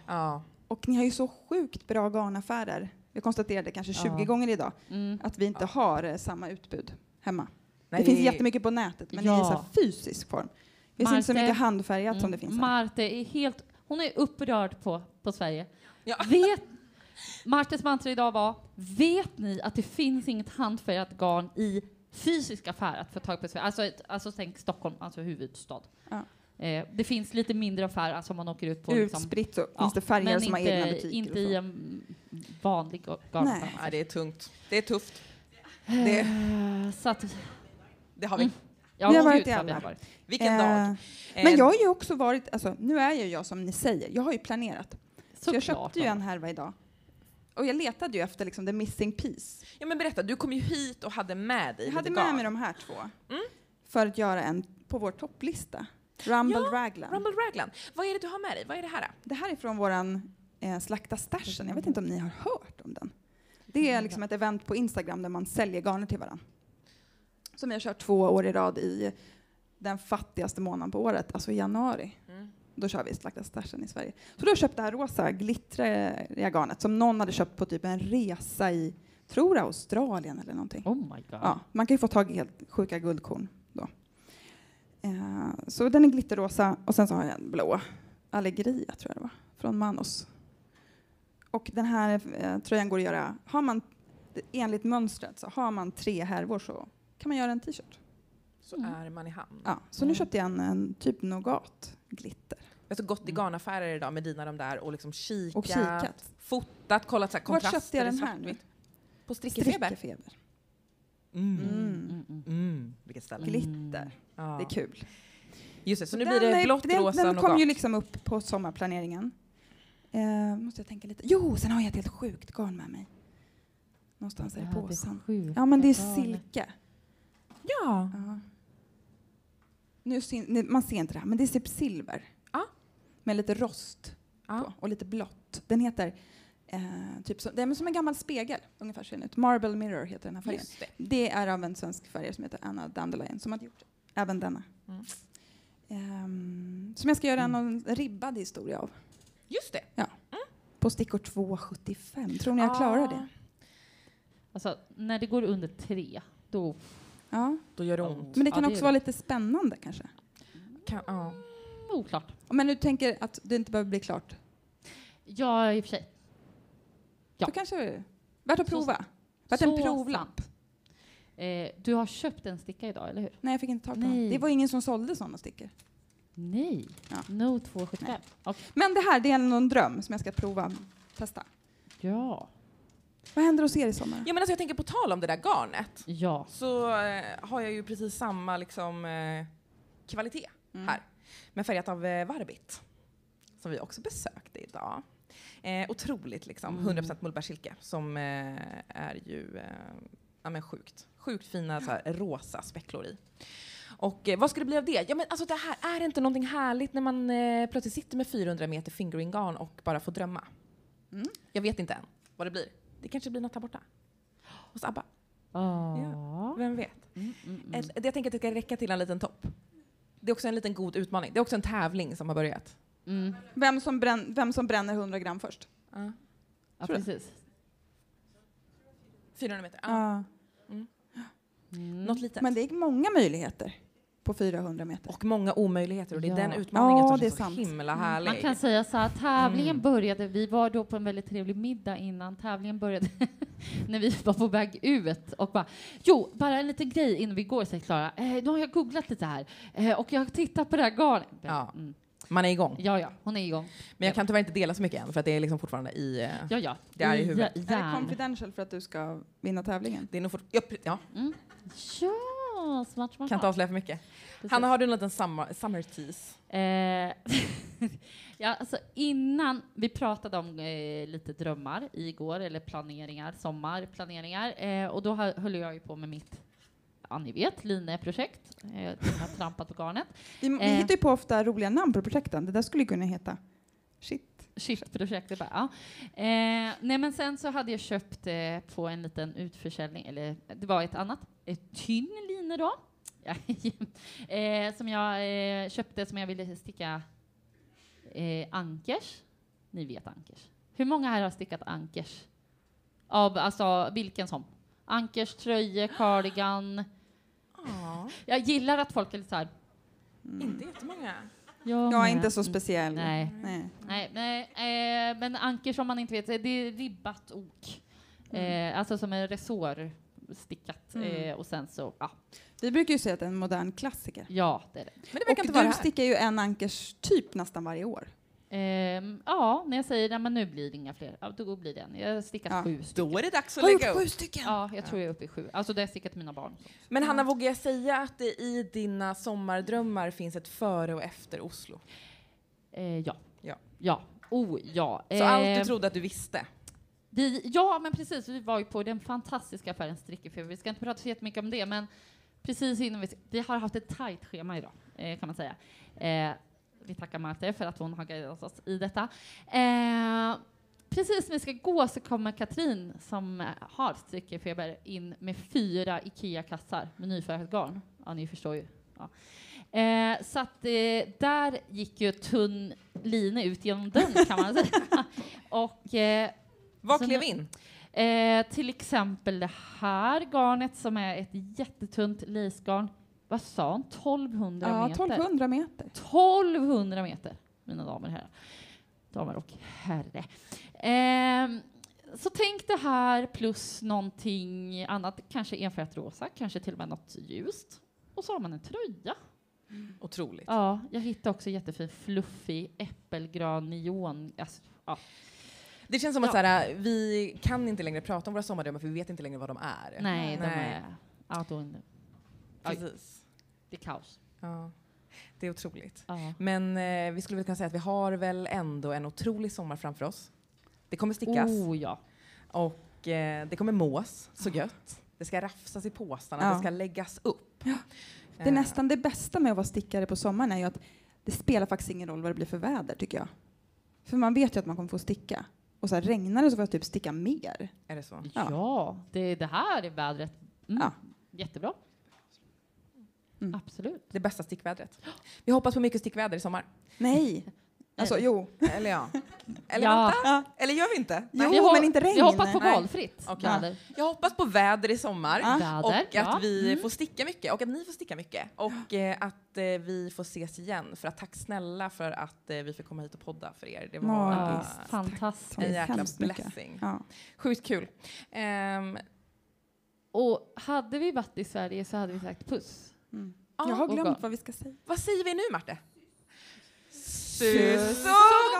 Speaker 4: Ja,
Speaker 5: Och ni har ju så sjukt bra garnaffärer. Vi konstaterade kanske 20
Speaker 3: Ja.
Speaker 5: gånger idag
Speaker 3: Mm.
Speaker 5: att vi inte har eh, samma utbud hemma.
Speaker 4: Nej,
Speaker 5: det finns
Speaker 4: det är-
Speaker 5: jättemycket på nätet, men
Speaker 3: Ja.
Speaker 5: i en så här fysisk form. Det finns inte så
Speaker 3: Marte-
Speaker 5: mycket handfärgat som det
Speaker 3: Mm.
Speaker 5: finns här.
Speaker 3: Marte är helt, hon är upprörd på, på Sverige.
Speaker 4: Ja.
Speaker 3: Vet, Martes mantra idag var, vet ni att det finns inget handfärgat garn i fysisk affär att få tag på i Sverige? Alltså, ett- alltså tänk Stockholm, alltså huvudstad.
Speaker 5: Ja.
Speaker 3: Eh, det finns lite mindre affärer, alltså om man åker ut på... liksom-
Speaker 5: Utspritt så finns det färger
Speaker 3: men
Speaker 5: som har
Speaker 3: inte,
Speaker 5: egna butiker.
Speaker 3: Inte
Speaker 5: och så.
Speaker 3: i en vanlig ga- garnaffär.
Speaker 4: nej, det är tungt. Det är tufft. Det,
Speaker 3: Eh, Så att,
Speaker 4: det har vi.
Speaker 3: ja,
Speaker 5: Vi har
Speaker 3: gud,
Speaker 5: varit i
Speaker 3: vad vi
Speaker 5: alla.
Speaker 3: har varit.
Speaker 4: Vilken
Speaker 5: Mm. Eh,
Speaker 4: dag. Eh,
Speaker 5: Men jag har ju också varit, alltså, nu är ju jag som ni säger, jag har ju planerat. Så, jag
Speaker 3: Såklart.
Speaker 5: köpte ju en härva idag. Och jag letade ju efter liksom the missing piece.
Speaker 4: ja, men berätta, du kom ju hit och hade med dig
Speaker 5: Jag hade
Speaker 4: lite
Speaker 5: med
Speaker 4: garn.
Speaker 5: mig de här två
Speaker 4: Mm.
Speaker 5: för att göra en på vår topplista. Rumble Raglan.
Speaker 4: Rumble Raglan. Vad är det du har med dig? Vad är det här? då?
Speaker 5: Det här är från våran eh, Slakta stashen. Jag vet inte om ni har hört om den. Det är liksom ett event på Instagram där man säljer garner till varandra. Som jag har kört två år i rad i den fattigaste månaden på året, alltså i januari.
Speaker 4: Mm.
Speaker 5: Då kör vi Slakta stashen i Sverige. Så då köpte det här rosa glittriga garnet som någon hade köpt på typ en resa i, tror jag, Australien eller någonting.
Speaker 3: Oh my god.
Speaker 5: Ja, man kan ju få tag i helt sjuka guldkorn då. Eh, så den är glitterrosa och sen så har jag en blå. Allegria tror jag det var, från Manos. Och den här eh, tröjan går att göra, har man enligt mönstret så har man tre härvor så kan man göra en t-shirt.
Speaker 4: Så
Speaker 3: Mm.
Speaker 4: är man i hamn.
Speaker 5: Ja, så nu köpte jag en, en typ nougat glitter.
Speaker 4: Jag har gått i garnaffärer idag med dina de där och liksom kikat,
Speaker 5: Och kikat.
Speaker 4: fotat, kollat så här
Speaker 5: Vart
Speaker 4: kontraster.
Speaker 5: köpte jag
Speaker 4: i
Speaker 5: den här nu?
Speaker 4: svartvitt. På Strickefeber.
Speaker 5: Strickefeber.
Speaker 4: Mm.
Speaker 5: Mm.
Speaker 4: Mm. Vilket ställe.
Speaker 5: Glitter.
Speaker 4: Ja.
Speaker 5: Det är kul.
Speaker 4: Just det, så nu
Speaker 5: Den
Speaker 4: blir det
Speaker 5: är-
Speaker 4: blått,
Speaker 5: den,
Speaker 4: rosa,
Speaker 5: Den kom
Speaker 4: nougat.
Speaker 5: ju liksom upp på sommarplaneringen. Eh, måste jag tänka lite. Jo, sen har jag ett helt sjukt garn med mig. Någonstans är det påsen. Ja, men det är silke.
Speaker 4: Ja.
Speaker 5: Ja. Nu syn- nu, man ser inte det här, men det är typ silver.
Speaker 4: Ja.
Speaker 5: Med lite rost
Speaker 4: ja.
Speaker 5: på och lite blått. Den heter eh, typ som, det är som en gammal spegel, ungefär ser den ut. Marble Mirror heter den här färgen.
Speaker 4: Just det.
Speaker 5: Det är av en svensk färgare som heter Anna Dandelion som har gjort även denna.
Speaker 4: Mm.
Speaker 5: Ehm, som jag ska
Speaker 3: Mm.
Speaker 5: göra en ribbad historia av.
Speaker 4: Just det.
Speaker 5: På stickor 2,75. Tror ni jag klarar det?
Speaker 3: Alltså, när det går under tre, då...
Speaker 5: Ja.
Speaker 4: Då gör det ont.
Speaker 5: Men det
Speaker 3: Ja,
Speaker 5: kan
Speaker 3: det är
Speaker 5: också
Speaker 3: det.
Speaker 5: vara lite spännande kanske.
Speaker 4: Kan, ja.
Speaker 3: Oklart.
Speaker 5: Om jag nu tänker att det inte behöver bli klart.
Speaker 3: Ja, i och för sig. Ja.
Speaker 5: Då kanske det är värt att
Speaker 3: Så
Speaker 5: prova. Värt
Speaker 3: Så
Speaker 5: en provlapp.
Speaker 3: sant. Eh, du har köpt en sticka idag, eller hur?
Speaker 5: Nej, jag fick inte tag på
Speaker 3: Nej.
Speaker 5: någon. Det var ingen som sålde sådana stickor.
Speaker 3: Nej.
Speaker 5: Ja.
Speaker 3: No 275.
Speaker 5: Men det här, det är någon dröm som jag ska prova. Testa.
Speaker 3: Ja.
Speaker 5: Vad händer hos er i sommar?
Speaker 4: ja men alltså jag tänker på tal om det där garnet.
Speaker 3: Ja.
Speaker 4: Så eh, har jag ju precis samma liksom eh, kvalitet här. Men färgat av eh, Varbit. Som vi också besökte idag. Eh, otroligt liksom.
Speaker 3: Mm.
Speaker 4: 100% mullbärssilke. Som eh, är ju eh, ja, men sjukt. Sjukt fina så här, rosa specklor i. Och eh, vad ska det bli av det? Ja, men alltså, det här, är det inte någonting härligt när man eh, plötsligt sitter med 400 meter fingering-garn och bara får drömma?
Speaker 5: Mm.
Speaker 4: Jag vet inte än vad det blir. Det kanske blir något här borta. Hos ABBA.
Speaker 3: Ja.
Speaker 4: Vem vet?
Speaker 3: Mm, mm, mm.
Speaker 4: Ett- Jag tänker att det ska räcka till en liten topp. Det är också en liten god utmaning. Det är också en tävling som har börjat.
Speaker 3: Mm.
Speaker 5: Vem som, brän- vem som bränner 100 gram först?
Speaker 3: Ja,
Speaker 5: Tror
Speaker 3: precis.
Speaker 4: 400 meter? Ja.
Speaker 5: Ja.
Speaker 3: Mm.
Speaker 4: Något litet.
Speaker 5: Men det är många möjligheter på 400 meter.
Speaker 4: Och många omöjligheter och det är
Speaker 3: Ja.
Speaker 4: den utmaningen
Speaker 5: Ja,
Speaker 4: som
Speaker 5: det är
Speaker 4: känns så
Speaker 5: sant.
Speaker 4: himla
Speaker 3: Mm.
Speaker 4: härlig.
Speaker 3: Man kan säga så här, tävlingen
Speaker 4: Mm.
Speaker 3: började, vi var då på en väldigt trevlig middag innan tävlingen började, [LAUGHS] när vi var på väg ut och bara, jo, bara en liten grej innan vi går, säger Klara, eh, nu har jag googlat lite här eh, och jag har tittat på det här garnet.
Speaker 4: Ja.
Speaker 3: Mm.
Speaker 4: Man är igång.
Speaker 3: ja, ja, hon är igång.
Speaker 4: Men jag kan tyvärr inte dela så mycket än för att det är liksom fortfarande i... eh,
Speaker 3: Ja, ja.
Speaker 4: Det är i huvudet.
Speaker 3: Ja,
Speaker 5: Är det
Speaker 3: järn.
Speaker 5: confidential för att du ska vinna tävlingen?
Speaker 4: Det är nog fort... ja, pre- ja,
Speaker 3: Mm. Ja, smart, smart.
Speaker 4: kan inte
Speaker 3: smart.
Speaker 4: avslöja för mycket.
Speaker 3: Precis.
Speaker 4: Hanna, har du en liten summer, summer tease?
Speaker 3: Eh, [LAUGHS] ja, alltså innan vi pratade om eh, lite drömmar igår, eller planeringar, sommarplaneringar, eh, och då hö- höll jag ju på med mitt, ja ni vet, lineprojekt. Eh, jag har trampat på garnet.
Speaker 5: Vi, vi
Speaker 3: Eh.
Speaker 5: hittar ju på ofta roliga namn på projekten. Det där skulle ju kunna heta Shit.
Speaker 3: Shiftprojektet bara, ja. Eh, nej men sen så hade jag köpt eh, på en liten utförsäljning, eller det var ett annat, ett tynn line då. [LAUGHS] eh, som jag eh, köpte som jag ville sticka eh, ankers. Ni vet ankers. Hur många här har stickat ankers? Av, alltså vilken som? Ankers, tröjor, cardigan.
Speaker 4: Ja,
Speaker 3: Jag gillar att folk är lite såhär.
Speaker 5: Mm.
Speaker 4: inte jättemånga.
Speaker 3: Jag
Speaker 5: Jag är inte så speciell.
Speaker 3: Nej.
Speaker 5: Nej.
Speaker 3: Nej, nej eh, men anker som man inte vet, eh, det är ribbat ok. Eh, alltså som en resår stickat eh, och sen så, ja,
Speaker 5: Vi brukar ju säga att det är en modern klassiker.
Speaker 3: ja det är det.
Speaker 4: Men det verkar
Speaker 5: och
Speaker 4: inte vara
Speaker 5: du
Speaker 4: här.
Speaker 5: stickar ju en ankers typ nästan varje år.
Speaker 3: Ehm, ja, när jag säger nej, men nu blir det inga fler, ja, då blir det en. Jag har stickat
Speaker 5: Ja.
Speaker 3: sju stycken.
Speaker 4: Då är det dags att
Speaker 5: Har
Speaker 4: lägga
Speaker 5: gjort
Speaker 4: upp.
Speaker 5: sju stycken!
Speaker 3: Ja, jag tror jag är uppe i sju. Alltså det har jag stickat till mina barn.
Speaker 4: Men Hanna, vågar jag säga att det i dina sommardrömmar finns ett före och efter Oslo?
Speaker 3: Eh, ja.
Speaker 4: Ja.
Speaker 3: Ja. Oh, ja.
Speaker 4: Så allt du
Speaker 3: Ehm,
Speaker 4: trodde att du visste?
Speaker 3: Vi, ja, men precis. Vi var ju på den fantastiska affären Strickefeber. Vi ska inte prata så jättemycket om det, men precis innan vi... Vi har haft ett tajt schema idag, eh, kan man säga. Eh, vi tackar Marte för att hon har guidat oss i detta. Eh, precis när vi ska gå så kommer Katrin, som eh, har Strickefeber, in med fyra IKEA-kassar med nyfärgat garn. Ja, ni förstår ju. Ja. Eh, så att eh, där gick ju tunn line ut genom dörren kan man säga. [LAUGHS] Och eh,
Speaker 4: Vad
Speaker 3: Så
Speaker 4: klev
Speaker 3: nu-
Speaker 4: in?
Speaker 3: Eh, till exempel det här garnet som är ett jättetunt lacegarn. Vad sa hon? 1200
Speaker 5: Ja,
Speaker 3: meter?
Speaker 5: 1200 meter.
Speaker 3: 1200 meter, mina damer och herrar. Damer och herre. Ehm, så tänk det här plus någonting annat, kanske enfärgat rosa, kanske till och med något ljust. Och så har man en tröja.
Speaker 4: Otroligt.
Speaker 3: Ja, jag hittade också jättefin fluffig äppelgrön neon. Alltså, ja.
Speaker 4: Det känns som att
Speaker 3: Ja.
Speaker 4: så här, vi kan inte längre prata om våra sommardrömmar för vi vet inte längre vad de är.
Speaker 3: Nej, de
Speaker 4: Nej.
Speaker 3: är out of window. Oj.
Speaker 4: Precis.
Speaker 3: Det är kaos.
Speaker 4: Ja. Det är otroligt.
Speaker 3: Ja.
Speaker 4: Men eh, vi skulle väl kunna säga att vi har väl ändå en otrolig sommar framför oss. Det kommer stickas
Speaker 3: Oh ja.
Speaker 4: och eh, det kommer mås så gött. Det ska rafsas i påsarna,
Speaker 5: Ja.
Speaker 4: det ska läggas upp. Eh,
Speaker 5: Det är nästan det bästa med att vara stickare på sommaren är ju att det spelar faktiskt ingen roll vad det blir för väder tycker jag. För man vet ju att man kommer få sticka. Och så här, regnar det så får jag typ sticka mer.
Speaker 4: Är det så?
Speaker 3: Ja,
Speaker 5: Ja.
Speaker 3: det, det här är vädret. Mm.
Speaker 5: Ja.
Speaker 3: Jättebra.
Speaker 5: Mm.
Speaker 3: Absolut.
Speaker 4: Det bästa stickvädret. Vi hoppas på mycket stickväder i sommar.
Speaker 5: Nej! Alltså jo.
Speaker 4: Eller ja. Eller
Speaker 3: Ja.
Speaker 4: vänta.
Speaker 5: Ja.
Speaker 4: Eller gör vi inte?
Speaker 5: Jo,
Speaker 3: Vi har-
Speaker 5: men inte regn.
Speaker 3: Vi hoppas på
Speaker 4: Nej.
Speaker 3: valfritt
Speaker 4: Okej.
Speaker 3: väder.
Speaker 4: Jag hoppas på väder i sommar.
Speaker 5: Ja.
Speaker 3: Väder,
Speaker 4: Och att
Speaker 3: ja. Mm.
Speaker 4: vi får sticka mycket och att ni får sticka mycket. Och eh, att eh, vi får ses igen. För att tack snälla för att eh, vi fick komma hit och podda för er. Det var
Speaker 3: Ja,
Speaker 5: Magiskt.
Speaker 3: fantastiskt.
Speaker 5: Tack.
Speaker 4: en jäkla
Speaker 5: Hemskt mycket.
Speaker 4: blessing.
Speaker 5: Ja.
Speaker 4: Sjukt kul. Ehm,
Speaker 3: Och hade vi varit i Sverige så hade vi sagt puss.
Speaker 5: Mm.
Speaker 4: Ja,
Speaker 5: Jag har
Speaker 3: och
Speaker 5: glömt
Speaker 3: gott.
Speaker 5: vad vi ska säga.
Speaker 4: vad säger vi nu Marte? Syss
Speaker 5: Syss
Speaker 4: och